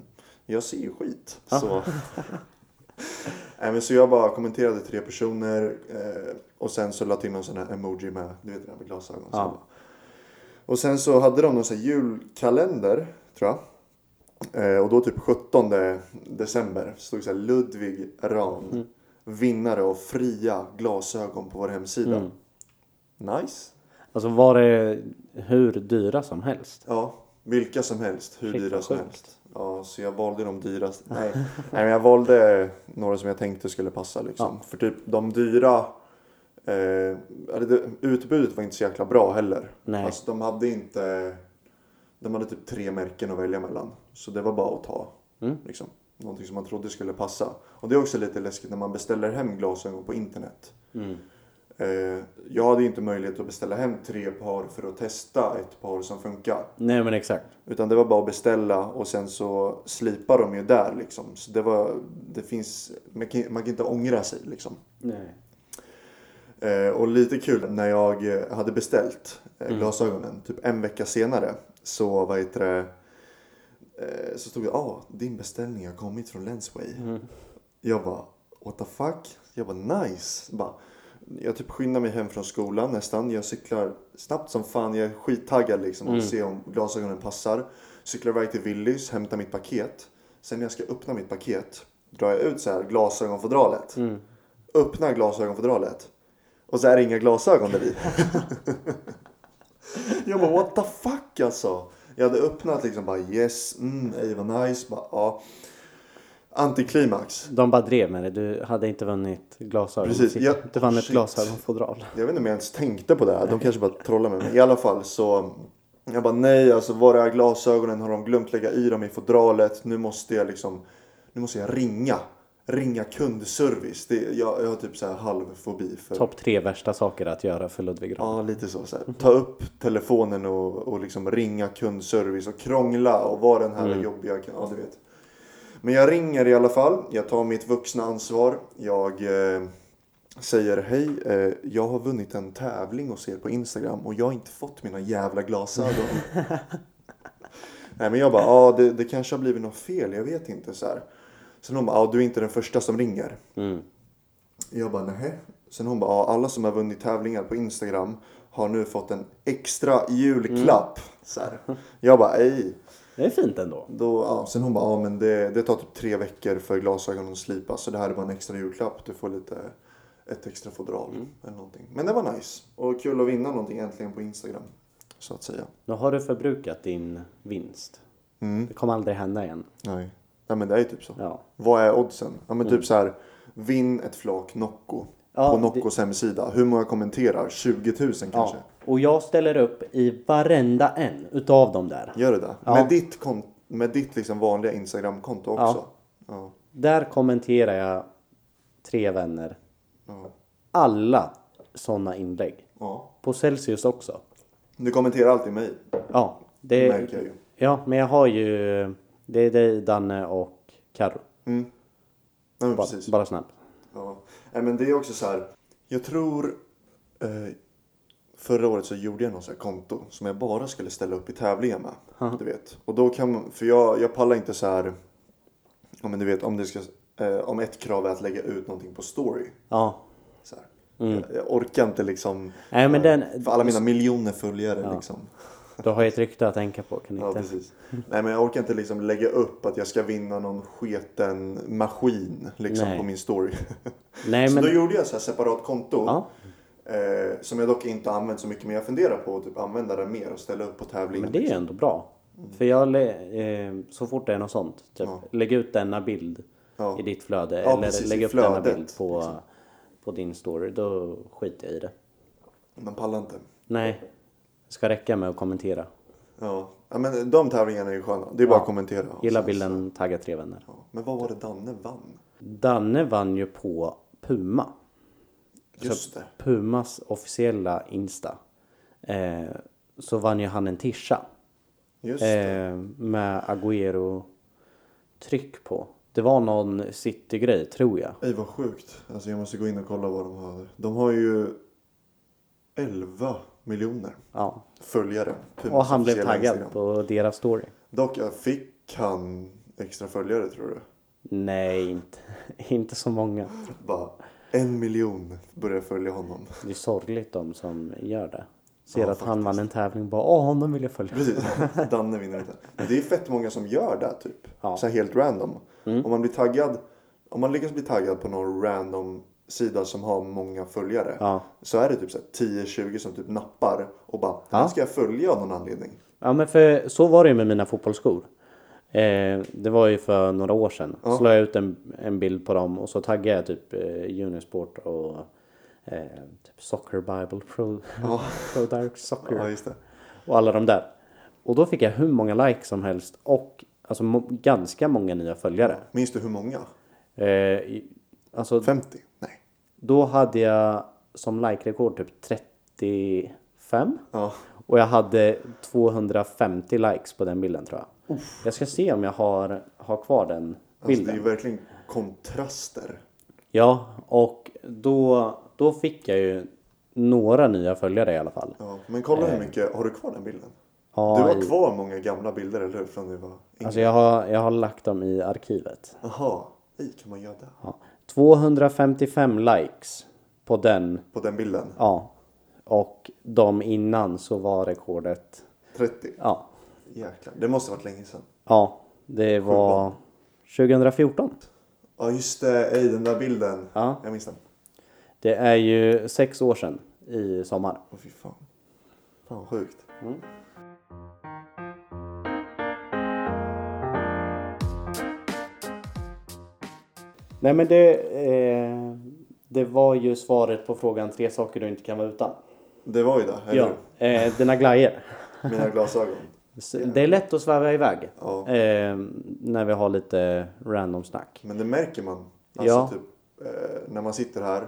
[SPEAKER 1] Jag ser ju skit. Så. Nej, men så jag bara kommenterade tre personer. Eh, och sen så la till någon sån här emoji med. Du vet den här med glasögon. Så jag bara, Och sen så hade de någon sån här julkalender, tror jag. Eh, och då typ 17 december stod det så här Ludvig Ran. Vinnare av fria glasögon på vår hemsida. Nice.
[SPEAKER 2] Alltså var det hur dyra som helst.
[SPEAKER 1] Ja, vilka som helst. Hur
[SPEAKER 2] Shit,
[SPEAKER 1] dyra
[SPEAKER 2] vad
[SPEAKER 1] som
[SPEAKER 2] sjukt.
[SPEAKER 1] helst. Ja, så jag valde de dyraste. Nej. *laughs* Nej, men jag valde några som jag tänkte skulle passa liksom. För typ de dyra. Eh, eller det, utbudet var inte så jäkla bra heller.
[SPEAKER 2] Nej.
[SPEAKER 1] Alltså de hade inte. De hade typ tre märken att välja mellan. Så det var bara att ta.
[SPEAKER 2] Mm.
[SPEAKER 1] Liksom. Någonting
[SPEAKER 2] Mm.
[SPEAKER 1] som man trodde skulle passa. Och det är också lite läskigt när man beställer hem glasögon på internet. Eh, jag hade inte möjlighet att beställa hem tre par för att testa ett par som funkar.
[SPEAKER 2] Nej men exakt.
[SPEAKER 1] Utan det var bara att beställa och sen så slipar de ju där liksom. Så det var, det finns, man kan, man kan inte ångra sig liksom.
[SPEAKER 2] Nej.
[SPEAKER 1] Eh, och lite kul, när jag eh, hade beställt eh, glasögonen typ en vecka senare så vad heter det, eh, så stod det ah, din beställning har kommit från Lensway.
[SPEAKER 2] Mm.
[SPEAKER 1] Jag bara what the fuck? Jag bara nice. Bara, jag typ skyndar mig hem från skolan nästan. Jag cyklar snabbt som fan. Jag är skittaggad liksom och ser om glasögonen passar. Cyklar iväg till Willys, hämtar mitt paket. Sen när jag ska öppna mitt paket drar jag ut så här glasögonfodralet. Öppnar glasögonfodralet. Och så är det inga glasögon där i. *laughs* jag bara what the fuck alltså. Jag hade öppnat liksom bara yes, mm, ej vad nice. Bara, ja. Antiklimax.
[SPEAKER 2] De bara drev med det. Du hade inte vunnit glasögon.
[SPEAKER 1] Precis, ja.
[SPEAKER 2] Du vann ett
[SPEAKER 1] Shit.
[SPEAKER 2] glasögonfodral.
[SPEAKER 1] Jag vet inte om jag ens tänkte på det här. De kanske bara trollar med mig. I alla fall så. Jag bara nej alltså var är glasögonen? Har de glömt lägga i dem i fodralet? Nu måste jag liksom. Nu måste jag ringa. Ringa kundservice. Det, jag, jag har typ så här halv fobi för
[SPEAKER 2] Topp tre värsta saker att göra för Ludvig Grahn.
[SPEAKER 1] Ja, lite så. så här. Ta upp telefonen och, och liksom ringa kundservice och krångla och vara den här jobbiga. Ja, du vet. Men jag ringer i alla fall. Jag tar mitt vuxna ansvar. Jag eh, säger hej. Eh, jag har vunnit en tävling hos er på Instagram och jag har inte fått mina jävla glasögon. Nej, men jag bara, ja det, det kanske har blivit något fel. Jag vet inte så här. Sen hon bara, ja du är inte den första som ringer. Jag bara nej. Sen hon bara, ja, alla som har vunnit tävlingar på Instagram har nu fått en extra julklapp. Mm. Så här. Jag bara, ej.
[SPEAKER 2] Det är fint ändå.
[SPEAKER 1] Då, ja. Sen hon bara, ja men det, det tar typ tre veckor för glasögonen att slipas. Så det här är bara en extra julklapp. Du får lite, ett extra fodral eller någonting. Men det var nice. Och kul att vinna någonting äntligen på Instagram. Så att säga.
[SPEAKER 2] Nu har du förbrukat din vinst.
[SPEAKER 1] Mm.
[SPEAKER 2] Det kommer aldrig hända igen.
[SPEAKER 1] Nej. Nej men det är ju typ så.
[SPEAKER 2] Ja.
[SPEAKER 1] Vad är oddsen? Ja men typ så här. Vinn ett flak Nocco.
[SPEAKER 2] Ja,
[SPEAKER 1] på Noccos hemsida. Hur många kommenterar? 20 000 kanske?
[SPEAKER 2] Och jag ställer upp i varenda en utav dem där.
[SPEAKER 1] Gör det där. Med ditt, kon- med ditt liksom vanliga Instagram-konto också. Ja.
[SPEAKER 2] Där kommenterar jag tre vänner.
[SPEAKER 1] Ja.
[SPEAKER 2] Alla sådana inlägg.
[SPEAKER 1] ja.
[SPEAKER 2] På Celsius också.
[SPEAKER 1] Du kommenterar alltid mig.
[SPEAKER 2] Ja,
[SPEAKER 1] Det
[SPEAKER 2] det,
[SPEAKER 1] märker jag ju.
[SPEAKER 2] ja men jag har ju... Det är dig, Danne och Carro.
[SPEAKER 1] Nej, men
[SPEAKER 2] Bara,
[SPEAKER 1] precis.
[SPEAKER 2] bara snabbt.
[SPEAKER 1] Ja. Nej, men det är också så här. Jag tror. Eh, förra året så gjorde jag något så här konto som jag bara skulle ställa upp i tävlingar med. Du vet. Och då kan man, för jag, jag pallar inte så här. Ja, men du vet om det ska. Eh, om ett krav är att lägga ut någonting på story.
[SPEAKER 2] Ja.
[SPEAKER 1] Så här. Jag, jag orkar inte liksom.
[SPEAKER 2] Nej, men den-
[SPEAKER 1] för alla mina miljoner följare liksom.
[SPEAKER 2] Du har ju ett rykte att tänka på. Kan
[SPEAKER 1] Ja,
[SPEAKER 2] inte?
[SPEAKER 1] precis. Nej, men jag orkar inte liksom lägga upp att jag ska vinna någon sketen maskin liksom,
[SPEAKER 2] Nej.
[SPEAKER 1] på min story.
[SPEAKER 2] *laughs* Nej,
[SPEAKER 1] så
[SPEAKER 2] men-
[SPEAKER 1] då gjorde jag så här separat konto.
[SPEAKER 2] Ja.
[SPEAKER 1] Eh, som jag dock inte använt så mycket, men jag funderar på att typ använda det mer och ställa upp på tävlingar.
[SPEAKER 2] Men det är ju ändå bra.
[SPEAKER 1] Mm.
[SPEAKER 2] För jag, lä- eh, så fort det är något sånt, typ, lägg ut denna bild
[SPEAKER 1] Ja.
[SPEAKER 2] i ditt flöde
[SPEAKER 1] Ja,
[SPEAKER 2] eller
[SPEAKER 1] precis,
[SPEAKER 2] lägg
[SPEAKER 1] i
[SPEAKER 2] upp denna
[SPEAKER 1] flödet, liksom.
[SPEAKER 2] bild på, på din story, då skiter jag i det.
[SPEAKER 1] Man pallar inte.
[SPEAKER 2] Nej, det ska räcka med att kommentera.
[SPEAKER 1] Ja. ja, men de tävlingarna är ju sköna. Det är bara att kommentera. och
[SPEAKER 2] Gilla
[SPEAKER 1] sen-
[SPEAKER 2] bilden, tagga tre vänner.
[SPEAKER 1] Ja. Men vad var det Danne vann?
[SPEAKER 2] Danne vann ju på Puma.
[SPEAKER 1] Just det.
[SPEAKER 2] Alltså, Pumas officiella Insta. Eh, så vann ju han en tisha.
[SPEAKER 1] Just det.
[SPEAKER 2] eh, med Agüero-tryck på. Det var någon City-grej, tror jag.
[SPEAKER 1] Ej, vad sjukt. Alltså, jag måste gå in och kolla vad de har. De har ju 11 miljoner
[SPEAKER 2] Ja.
[SPEAKER 1] följare. Pumas
[SPEAKER 2] Och han blev
[SPEAKER 1] officiella
[SPEAKER 2] taggad
[SPEAKER 1] Instagram.
[SPEAKER 2] på deras story.
[SPEAKER 1] Dock, jag fick han extra följare tror du?
[SPEAKER 2] Nej, inte, *laughs* inte så många.
[SPEAKER 1] Bara en miljon började följa
[SPEAKER 2] *laughs*
[SPEAKER 1] honom.
[SPEAKER 2] Det är sorgligt de som gör det. Ser att han vann en tävling och bara åh, honom vill jag följa.
[SPEAKER 1] Precis, Danne vinner inte. Men Det är fett många som gör det typ.
[SPEAKER 2] Ja. Mm.
[SPEAKER 1] Så här helt random. Om man blir taggad, om man lyckas bli taggad på någon random sida som har många följare.
[SPEAKER 2] Ja.
[SPEAKER 1] Så är det typ så här 10-20 som typ nappar och bara, den här ska jag följa av någon anledning.
[SPEAKER 2] Ja, men för så var det ju med mina fotbollsskor. Eh, det var ju för några år sedan. Så la jag ut en, en bild på dem och så taggade jag typ eh, Unisport och eh, typ Soccer Bible Pro, *laughs* Pro Dark Soccer.
[SPEAKER 1] Ja, just det.
[SPEAKER 2] och alla de där. Och då fick jag hur många likes som helst och alltså, mo- ganska många nya följare.
[SPEAKER 1] Minns du hur många?
[SPEAKER 2] Eh, i- alltså,
[SPEAKER 1] 50? Nej.
[SPEAKER 2] då hade jag som like-rekord typ 35.
[SPEAKER 1] Ja.
[SPEAKER 2] Och jag hade 250 likes på den bilden tror jag. Jag ska se om jag har, har kvar den
[SPEAKER 1] Alltså,
[SPEAKER 2] bilden.
[SPEAKER 1] det är ju verkligen kontraster.
[SPEAKER 2] Ja, och då, då fick jag ju några nya följare i alla fall.
[SPEAKER 1] Ja, men kolla hur mycket, har du kvar den bilden?
[SPEAKER 2] Eh. Ja,
[SPEAKER 1] du
[SPEAKER 2] i-
[SPEAKER 1] har kvar många gamla bilder, eller hur? Från du var yngre.
[SPEAKER 2] Alltså jag har, jag har lagt dem i arkivet.
[SPEAKER 1] Jaha, i kan man göra det?
[SPEAKER 2] Ja. 255 likes på den.
[SPEAKER 1] På den bilden?
[SPEAKER 2] Ja. Och de innan så var rekordet.
[SPEAKER 1] 30?
[SPEAKER 2] Ja.
[SPEAKER 1] Jäklar, det måste ha varit länge sedan.
[SPEAKER 2] Ja. Det var 2014.
[SPEAKER 1] Ja just det, ej den där bilden.
[SPEAKER 2] Ja.
[SPEAKER 1] Jag minns den.
[SPEAKER 2] Det är ju sex år sedan i sommar.
[SPEAKER 1] Åh fy fan. Fan vad sjukt.
[SPEAKER 2] Nej men det, eh, det var ju svaret på frågan tre saker du inte kan vara utan.
[SPEAKER 1] Det var ju det, eller
[SPEAKER 2] Ja.
[SPEAKER 1] hur?
[SPEAKER 2] Eh, dina glajjor. *laughs*
[SPEAKER 1] Mina glasögon.
[SPEAKER 2] Så Det är lätt att sväva iväg.
[SPEAKER 1] Ja.
[SPEAKER 2] Eh, när vi har lite random snack.
[SPEAKER 1] Men det märker man. Alltså
[SPEAKER 2] Ja. Mm.
[SPEAKER 1] typ eh, när man sitter här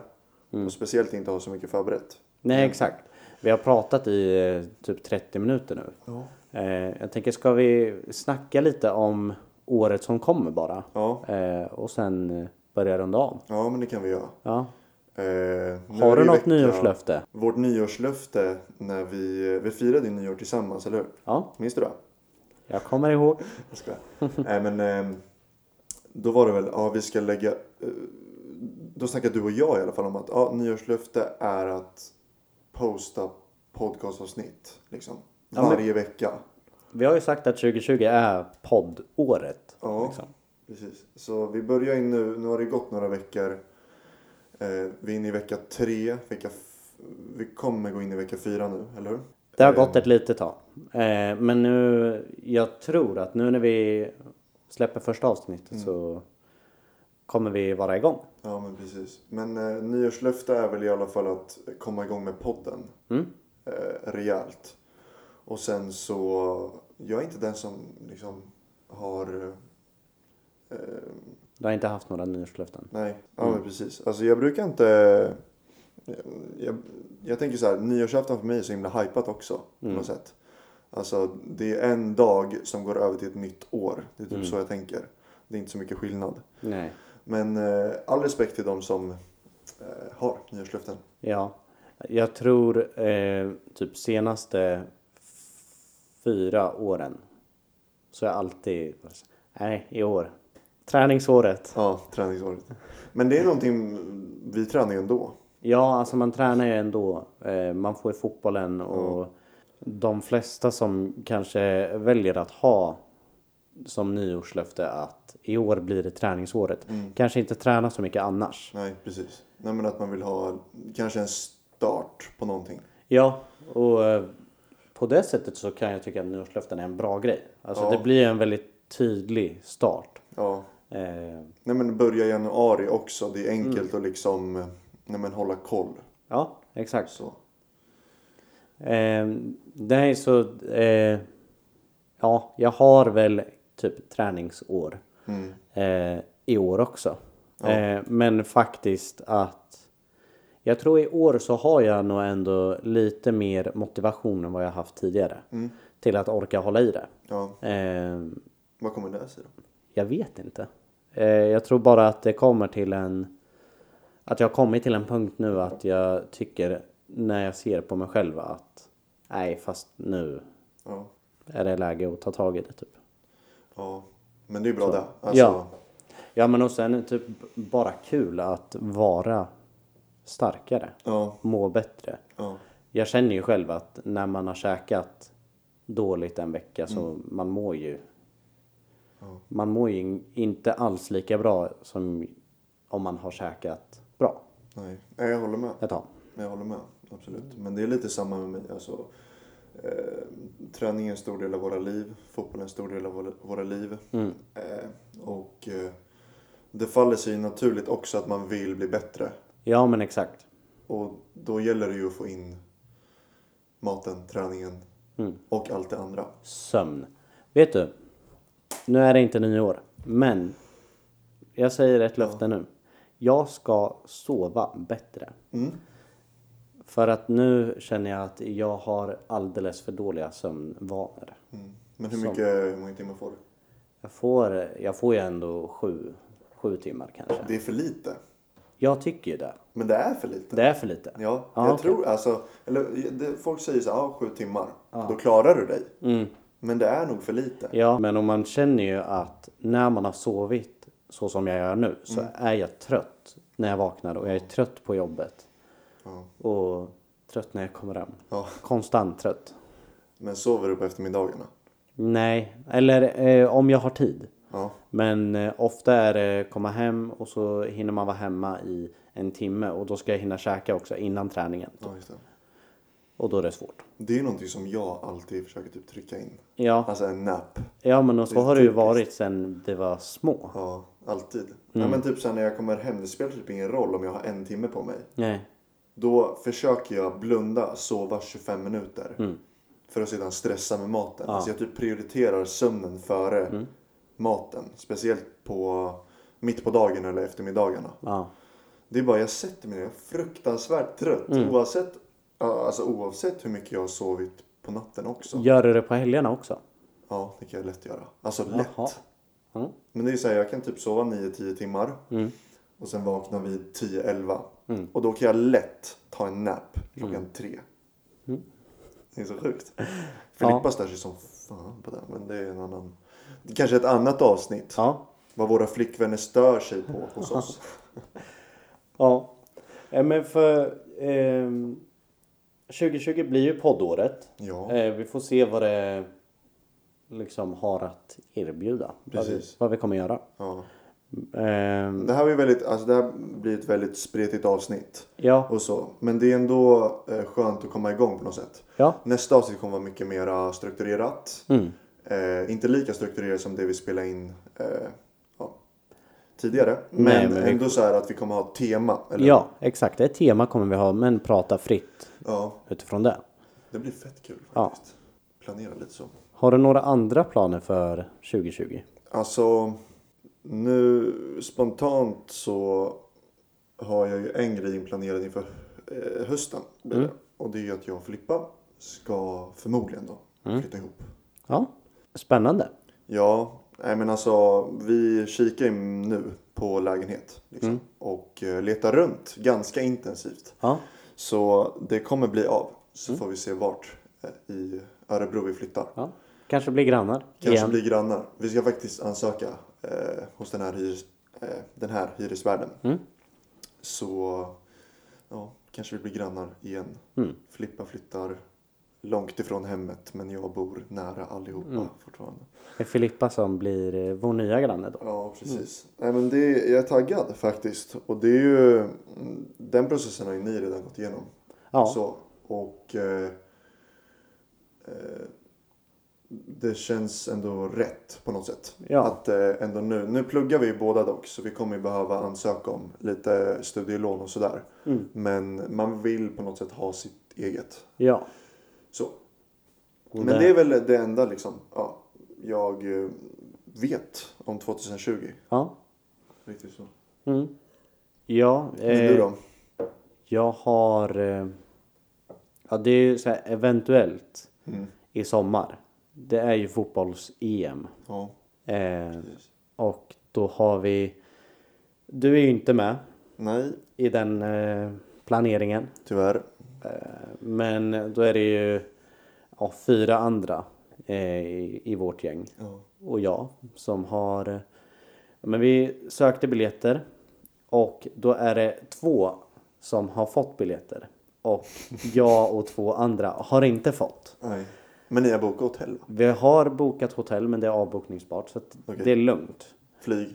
[SPEAKER 1] och speciellt inte har så mycket förberett.
[SPEAKER 2] Nej, exakt. Vi har pratat i eh, typ 30 minuter nu.
[SPEAKER 1] Ja.
[SPEAKER 2] Eh, jag tänker, ska vi snacka lite om året som kommer bara?
[SPEAKER 1] Ja,
[SPEAKER 2] Eh, och sen eh, börja runda av.
[SPEAKER 1] ja men det kan vi göra.
[SPEAKER 2] Ja.
[SPEAKER 1] Eh, nu är
[SPEAKER 2] Har
[SPEAKER 1] det
[SPEAKER 2] du
[SPEAKER 1] ju
[SPEAKER 2] något
[SPEAKER 1] vecka-
[SPEAKER 2] nyårslöfte?
[SPEAKER 1] Vårt nyårslöfte när vi, vi firade ju nyår tillsammans, eller hur?
[SPEAKER 2] Ja,
[SPEAKER 1] Minns du det?
[SPEAKER 2] jag kommer ihåg.
[SPEAKER 1] Jag
[SPEAKER 2] *laughs*
[SPEAKER 1] skojar. Nej men ehm, då var det väl, ja vi ska lägga, eh, då snackade du och jag i alla fall om att ja, nyårslöfte är att posta podcastavsnitt liksom.
[SPEAKER 2] Ja, men-
[SPEAKER 1] Varje vecka.
[SPEAKER 2] Vi har ju sagt att 2020 är poddåret.
[SPEAKER 1] Ja,
[SPEAKER 2] liksom.
[SPEAKER 1] precis. Så vi börjar in nu, nu har det gått några veckor. Eh, vi är inne i vecka tre, vecka f- vi kommer gå in i vecka fyra nu, eller hur?
[SPEAKER 2] Det har gått ett litet tag. Eh, men nu, jag tror att nu när vi släpper första avsnittet så kommer vi vara igång.
[SPEAKER 1] Ja men precis. Men eh, nyårslöfte är väl i alla fall att komma igång med podden.
[SPEAKER 2] Mm.
[SPEAKER 1] Eh, rejält. Och sen så, jag är inte den som liksom har, eh,
[SPEAKER 2] Du har inte haft några nyårslöften?
[SPEAKER 1] nej, ja men precis. Alltså jag brukar inte, eh, jag, jag tänker så här, nyårsafton för mig är så himla hypat också på något sätt. Alltså det är en dag som går över till ett nytt år. Det är typ så jag tänker. Det är inte så mycket skillnad.
[SPEAKER 2] Nej.
[SPEAKER 1] Men eh, all respekt till de som eh, har nyårslöften.
[SPEAKER 2] Ja. Jag tror eh, typ senaste f- fyra åren så har jag alltid varit så- nej i år. Träningsåret.
[SPEAKER 1] Ja, träningsåret. Men det är någonting vi tränar ju ändå.
[SPEAKER 2] Ja, alltså man tränar ju ändå. Eh, man får ju fotbollen och de flesta som kanske väljer att ha som nyårslöfte att i år blir det träningsåret. Kanske inte träna så mycket annars.
[SPEAKER 1] Mm. Nej, precis. Nej, men att man vill ha kanske en start på någonting.
[SPEAKER 2] Ja, och eh, på det sättet så kan jag tycka att nyårslöften är en bra grej. Alltså
[SPEAKER 1] Ja.
[SPEAKER 2] det blir en väldigt tydlig start.
[SPEAKER 1] Ja.
[SPEAKER 2] Eh,
[SPEAKER 1] Nej, men börja i januari också. Det är enkelt att liksom nej, men hålla koll.
[SPEAKER 2] ja, exakt.
[SPEAKER 1] Så.
[SPEAKER 2] Eh, nej, så... Eh, ja, jag har väl typ träningsår eh, i år också. Eh, men faktiskt att... Jag tror i år så har jag nog ändå lite mer motivation än vad jag haft tidigare. Till att orka hålla i det.
[SPEAKER 1] Ja.
[SPEAKER 2] Eh,
[SPEAKER 1] Vad kommer det sig då?
[SPEAKER 2] Jag vet inte. Eh, jag tror bara att det kommer till en... Att jag har kommit till en punkt nu att jag tycker när jag ser på mig själv att nej, fast nu
[SPEAKER 1] Ja.
[SPEAKER 2] är det läge att ta tag i det. Typ.
[SPEAKER 1] ja. Men det är ju bra Alltså, det.
[SPEAKER 2] Ja. Ja, men och sen är det typ bara kul att vara starkare,
[SPEAKER 1] Ja.
[SPEAKER 2] må bättre.
[SPEAKER 1] Ja.
[SPEAKER 2] Jag känner ju själv att när man har käkat dåligt en vecka så man mår ju man mår ju in- inte alls lika bra som om man har käkat bra
[SPEAKER 1] Nej. Nej, jag håller med.
[SPEAKER 2] ett tag.
[SPEAKER 1] Jag håller med, absolut. Men det är lite samma med mig. Alltså, eh, träning är en stor del av våra liv. Fotboll är en stor del av våra- våra liv. Eh, och eh, det faller sig naturligt också att man vill bli bättre.
[SPEAKER 2] Ja men exakt.
[SPEAKER 1] Och då gäller det ju att få in maten, träningen och allt det andra.
[SPEAKER 2] Sömn. Vet du? Nu är det inte nyår. Men
[SPEAKER 1] Mm.
[SPEAKER 2] jag säger ett löfte nu. Jag ska sova bättre. För att nu känner jag att jag har alldeles för dåliga sömnvanor.
[SPEAKER 1] Mm. Men hur, mycket, hur många timmar får du?
[SPEAKER 2] Jag får, jag får ju ändå sju, sju timmar kanske.
[SPEAKER 1] Det är för lite.
[SPEAKER 2] Jag tycker ju det.
[SPEAKER 1] Men det är för lite.
[SPEAKER 2] Det är för lite.
[SPEAKER 1] Ja,
[SPEAKER 2] Ja,
[SPEAKER 1] jag
[SPEAKER 2] okej.
[SPEAKER 1] tror alltså. Eller, det, folk säger så här, ah, sju timmar. Då klarar du dig.
[SPEAKER 2] Mm.
[SPEAKER 1] Men det är nog för lite.
[SPEAKER 2] Ja, men om man känner ju att när man har sovit så som jag gör nu
[SPEAKER 1] Mm.
[SPEAKER 2] så är jag trött när jag vaknar och jag är trött på jobbet. Och trött när jag kommer hem.
[SPEAKER 1] Ja.
[SPEAKER 2] Konstant trött.
[SPEAKER 1] Men sover du på eftermiddagarna?
[SPEAKER 2] Nej, eller eh, om jag har tid.
[SPEAKER 1] Ja.
[SPEAKER 2] Men eh, ofta är det komma hem och så hinner man vara hemma i en timme och då ska jag hinna käka också innan träningen.
[SPEAKER 1] ja just det.
[SPEAKER 2] Och då är det svårt.
[SPEAKER 1] det är någonting som jag alltid försöker typ trycka in.
[SPEAKER 2] Ja,
[SPEAKER 1] Alltså en nap.
[SPEAKER 2] ja men och så har det ju varit sedan vi var små.
[SPEAKER 1] Ja, alltid.
[SPEAKER 2] Mm.
[SPEAKER 1] Ja, men typ sen när jag kommer hem, det spelar typ ingen roll om jag har en timme på mig.
[SPEAKER 2] Nej.
[SPEAKER 1] Då försöker jag blunda, sova 25 minuter. För att sedan stressa med maten. Alltså jag typ prioriterar sömnen före maten. Speciellt på mitt på dagen eller eftermiddagarna.
[SPEAKER 2] Ja.
[SPEAKER 1] Det är bara jag sätter mig ner, jag är fruktansvärt trött. Oavsett, ja, alltså, oavsett hur mycket jag har sovit på natten också.
[SPEAKER 2] Gör du det på helgerna också?
[SPEAKER 1] Ja, det kan jag lätt göra. Alltså
[SPEAKER 2] Jaha.
[SPEAKER 1] lätt.
[SPEAKER 2] Mm.
[SPEAKER 1] Men det är så här, jag kan typ sova 9-10 timmar. Och sen vakna vid 10-11.
[SPEAKER 2] Mm.
[SPEAKER 1] Och då kan jag lätt ta en nap klockan 3.
[SPEAKER 2] Mm.
[SPEAKER 1] Det är så
[SPEAKER 2] *laughs*
[SPEAKER 1] sjukt. Filippa stör sig som fan på det. Men det är en annan. Det är kanske ett annat avsnitt.
[SPEAKER 2] Ja.
[SPEAKER 1] Vad våra flickvänner stör sig på hos
[SPEAKER 2] *laughs*
[SPEAKER 1] oss.
[SPEAKER 2] Ja. Eh, Men för... ehm, 2020 blir ju poddåret.
[SPEAKER 1] Ja.
[SPEAKER 2] Eh, vi får se vad det liksom har att erbjuda. Vad, vi,
[SPEAKER 1] Precis.
[SPEAKER 2] vad vi kommer göra.
[SPEAKER 1] ja.
[SPEAKER 2] Ehm,
[SPEAKER 1] Det här, var ju väldigt, alltså det här blir ett väldigt spretigt avsnitt.
[SPEAKER 2] ja.
[SPEAKER 1] Och så. Men det är ändå eh, skönt att komma igång på något sätt.
[SPEAKER 2] Ja.
[SPEAKER 1] Nästa avsnitt kommer vara mycket mer strukturerat.
[SPEAKER 2] Mm.
[SPEAKER 1] Eh, inte lika strukturerat som det vi spelade in eh, ja, tidigare. Men,
[SPEAKER 2] Nej, men vi-
[SPEAKER 1] ändå så här att vi kommer ha ett tema. Eller?
[SPEAKER 2] Ja, exakt. Ett tema kommer vi ha, men prata fritt
[SPEAKER 1] Ja,
[SPEAKER 2] utifrån det.
[SPEAKER 1] Det blir fett kul
[SPEAKER 2] Ja.
[SPEAKER 1] faktiskt. Planera lite så.
[SPEAKER 2] Har du några andra planer för 2020?
[SPEAKER 1] Alltså, nu spontant så har jag ju en grej inplanerad inför eh, hösten. blir
[SPEAKER 2] Mm.
[SPEAKER 1] det. Och det är ju att jag och Filippa ska förmodligen då
[SPEAKER 2] Mm.
[SPEAKER 1] flytta ihop.
[SPEAKER 2] Ja, spännande.
[SPEAKER 1] Ja, nej men alltså vi kikar ju nu på lägenhet liksom,
[SPEAKER 2] Mm.
[SPEAKER 1] och eh, letar runt ganska intensivt.
[SPEAKER 2] Ja,
[SPEAKER 1] Så det kommer bli av. Så får vi se vart eh, i Örebro vi flyttar.
[SPEAKER 2] Mm. ja. kanske blir grannar
[SPEAKER 1] Kanske
[SPEAKER 2] igen.
[SPEAKER 1] blir grannar. Vi ska faktiskt ansöka eh, hos den här, hyres, eh, den här hyresvärden.
[SPEAKER 2] Mm.
[SPEAKER 1] Så ja, kanske vi blir grannar igen.
[SPEAKER 2] Mm.
[SPEAKER 1] Flippa flyttar långt ifrån hemmet men jag bor nära allihopa
[SPEAKER 2] Mm.
[SPEAKER 1] fortfarande.
[SPEAKER 2] Det är Filippa som blir eh, vår nya granne då.
[SPEAKER 1] Ja, precis. Nej, men det, jag är taggad faktiskt. Och det är ju, mm, den processen har ju ni redan gått igenom.
[SPEAKER 2] Ja.
[SPEAKER 1] Så, och eh, eh, det känns ändå rätt på något sätt.
[SPEAKER 2] Ja.
[SPEAKER 1] Att eh, ändå nu, nu pluggar vi ju båda dock så vi kommer ju behöva ansöka om lite studielån och sådär.
[SPEAKER 2] Mm.
[SPEAKER 1] Men man vill på något sätt ha sitt eget.
[SPEAKER 2] Ja.
[SPEAKER 1] Så.
[SPEAKER 2] Och
[SPEAKER 1] Men
[SPEAKER 2] där-
[SPEAKER 1] det är väl det enda liksom, ja, jag eh, vet om 2020.
[SPEAKER 2] Ja.
[SPEAKER 1] Riktigt så.
[SPEAKER 2] Mm. Ja.
[SPEAKER 1] Men du
[SPEAKER 2] Eh,
[SPEAKER 1] då?
[SPEAKER 2] jag har... Eh, ja, det är ju så här eventuellt
[SPEAKER 1] Mm,
[SPEAKER 2] i sommar. Det är ju fotbolls-EM.
[SPEAKER 1] Ja,
[SPEAKER 2] Eh,
[SPEAKER 1] precis.
[SPEAKER 2] och då har vi... Du är ju inte med
[SPEAKER 1] Nej,
[SPEAKER 2] i den eh, planeringen. Eh,
[SPEAKER 1] tyvärr.
[SPEAKER 2] Men då är det ju ja, fyra andra eh, i, i vårt gäng
[SPEAKER 1] Ja.
[SPEAKER 2] och jag som har... eh, Men vi sökte biljetter och då är det två som har fått biljetter.
[SPEAKER 1] *laughs*
[SPEAKER 2] Och jag och två andra har inte fått.
[SPEAKER 1] Nej. Men ni har bokat hotell? va?
[SPEAKER 2] Vi har bokat hotell men det är avbokningsbart så att
[SPEAKER 1] Okej.
[SPEAKER 2] det är lugnt.
[SPEAKER 1] Flyg?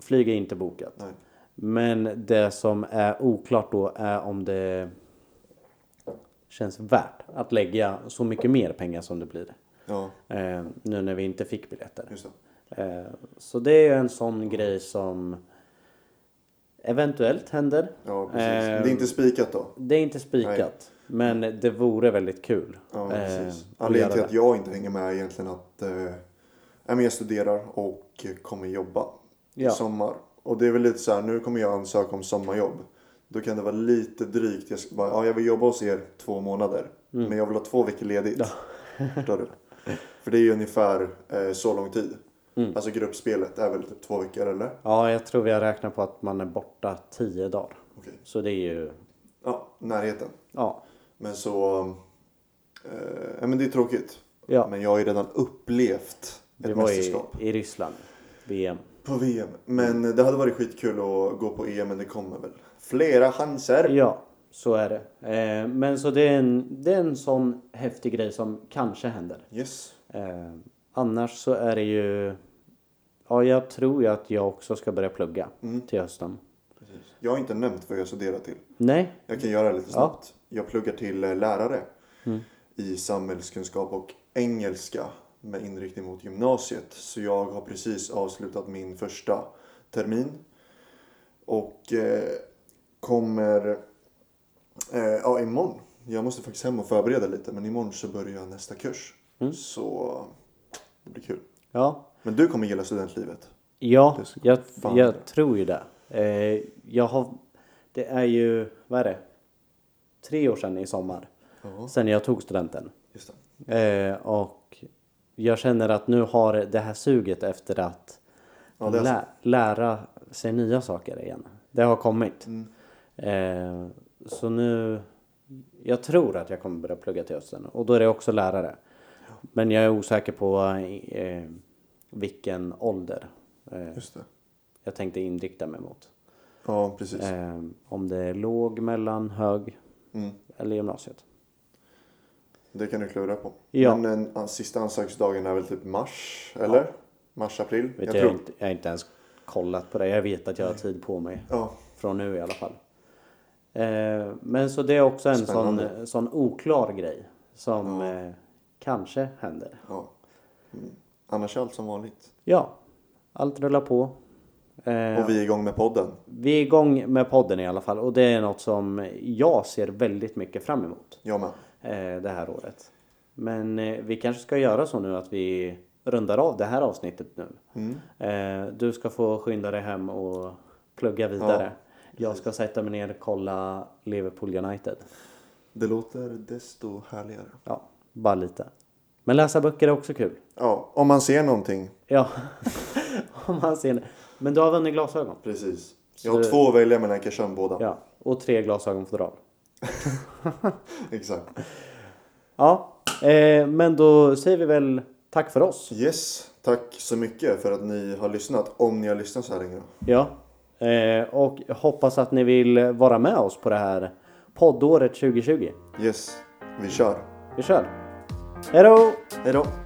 [SPEAKER 2] Flyg är inte bokat.
[SPEAKER 1] Nej.
[SPEAKER 2] Men det som är oklart då är om det känns värt att lägga så mycket mer pengar som det blir.
[SPEAKER 1] Ja,
[SPEAKER 2] Eh, nu när vi inte fick biljetter.
[SPEAKER 1] just det.
[SPEAKER 2] Eh, så det är ju en sån grej som eventuellt händer.
[SPEAKER 1] Ja, precis.
[SPEAKER 2] Eh,
[SPEAKER 1] det är inte spikat då?
[SPEAKER 2] det är inte spikat. Men det vore väldigt kul.
[SPEAKER 1] Ja,
[SPEAKER 2] eh,
[SPEAKER 1] precis.
[SPEAKER 2] att
[SPEAKER 1] Anledningen till
[SPEAKER 2] göra
[SPEAKER 1] att jag inte hänger med är egentligen att eh, nej, men jag studerar och eh, kommer jobba
[SPEAKER 2] Ja.
[SPEAKER 1] i sommar. Och det är väl lite så här, nu kommer jag ansöka om sommarjobb. Då kan det vara lite drygt. Jag, ska bara, ja, jag vill jobba hos er två månader.
[SPEAKER 2] Mm.
[SPEAKER 1] Men jag vill ha två veckor ledigt. *laughs* Förstår du? För det är ju ungefär eh, så lång tid.
[SPEAKER 2] Mm.
[SPEAKER 1] Alltså gruppspelet är väl typ två veckor eller?
[SPEAKER 2] Ja, jag tror vi har räknat på att man är borta tio dagar.
[SPEAKER 1] Okej.
[SPEAKER 2] Så det är ju...
[SPEAKER 1] Ja, närheten.
[SPEAKER 2] Ja.
[SPEAKER 1] Men så... Eh, ja, men det är tråkigt.
[SPEAKER 2] ja.
[SPEAKER 1] Men jag har ju redan upplevt
[SPEAKER 2] Det
[SPEAKER 1] ett
[SPEAKER 2] var i,
[SPEAKER 1] mästerskap.
[SPEAKER 2] i Ryssland. VM.
[SPEAKER 1] På VM. Men det hade varit skitkul att gå på EM men det kommer väl flera chanser.
[SPEAKER 2] Ja, så är det. Eh, men så det är, en, det är en sån häftig grej som kanske händer.
[SPEAKER 1] Yes.
[SPEAKER 2] Eh, annars så är det ju... Ja, jag tror ju att jag också ska börja plugga
[SPEAKER 1] Mm.
[SPEAKER 2] till hösten.
[SPEAKER 1] Jag har inte nämnt vad jag studerar till.
[SPEAKER 2] Nej,
[SPEAKER 1] Jag kan göra det lite snabbt. Jag pluggar till eh, lärare i samhällskunskap och engelska med inriktning mot gymnasiet. Så jag har precis avslutat min första termin. Och eh, kommer... Eh, ja, imorgon. Jag måste faktiskt hem och förbereda lite men imorgon så börjar jag nästa kurs. Så det blir kul.
[SPEAKER 2] ja.
[SPEAKER 1] Men du kommer gilla studentlivet.
[SPEAKER 2] Ja,
[SPEAKER 1] Det ska
[SPEAKER 2] jag,
[SPEAKER 1] fan
[SPEAKER 2] jag
[SPEAKER 1] det.
[SPEAKER 2] tror ju det. Eh, jag har... Det är ju... Vad är det? Tre år sedan i sommar.
[SPEAKER 1] Ja.
[SPEAKER 2] Sen jag tog studenten.
[SPEAKER 1] Just det.
[SPEAKER 2] Eh, och jag känner att nu har det här suget efter att
[SPEAKER 1] Ja, det är
[SPEAKER 2] lä- lära sig nya saker igen. Det har kommit.
[SPEAKER 1] Mm.
[SPEAKER 2] Eh, så nu... Jag tror att jag kommer börja plugga till hösten och då är det också lärare. Men jag är osäker på eh, vilken ålder. Eh,
[SPEAKER 1] Just det.
[SPEAKER 2] jag tänkte inrikta mig mot.
[SPEAKER 1] Ja, precis.
[SPEAKER 2] Eh, om det är låg, mellan, hög
[SPEAKER 1] Mm.
[SPEAKER 2] eller gymnasiet.
[SPEAKER 1] Det kan du klura på.
[SPEAKER 2] Ja.
[SPEAKER 1] Men den an- sista ansökningsdagen är väl typ mars, eller? Mars, april?
[SPEAKER 2] Vet jag,
[SPEAKER 1] jag tror.
[SPEAKER 2] inte, jag har inte ens kollat på det. Jag vet att jag har tid på mig.
[SPEAKER 1] Ja,
[SPEAKER 2] Från nu i alla fall. Eh, men så det är också en
[SPEAKER 1] Spännande.
[SPEAKER 2] sån, sån oklar grej. Som eh, kanske händer.
[SPEAKER 1] ja. Mm. Annars är allt som vanligt.
[SPEAKER 2] Ja, allt rullar på. Eh,
[SPEAKER 1] Och vi är igång med podden.
[SPEAKER 2] vi är igång med podden i alla fall. Och det är något som jag ser väldigt mycket fram emot.
[SPEAKER 1] Jag med.
[SPEAKER 2] eh, det här året. Men eh, vi kanske ska göra så nu att vi rundar av det här avsnittet nu. Eh, du ska få skynda dig hem och plugga vidare. jag ska sätta mig ner och kolla Liverpool United.
[SPEAKER 1] Det låter desto härligare.
[SPEAKER 2] Ja, bara lite. Men läsa böcker är också kul.
[SPEAKER 1] Ja, om man ser någonting.
[SPEAKER 2] Ja, *laughs* om man ser det. Men du har vunnit glasögon.
[SPEAKER 1] Precis.
[SPEAKER 2] Så
[SPEAKER 1] Jag har
[SPEAKER 2] det-
[SPEAKER 1] två att välja mellan, jag kan köra båda.
[SPEAKER 2] Ja, och tre glasögonfodral.
[SPEAKER 1] Exakt.
[SPEAKER 2] Ja, eh, men då säger vi väl tack för oss.
[SPEAKER 1] Yes, tack så mycket för att ni har lyssnat. Om ni har lyssnat så här länge.
[SPEAKER 2] Ja, eh, och jag hoppas att ni vill vara med oss på det här poddåret 2020.
[SPEAKER 1] Yes, vi kör.
[SPEAKER 2] Vi kör! Hej då!
[SPEAKER 1] Hej då.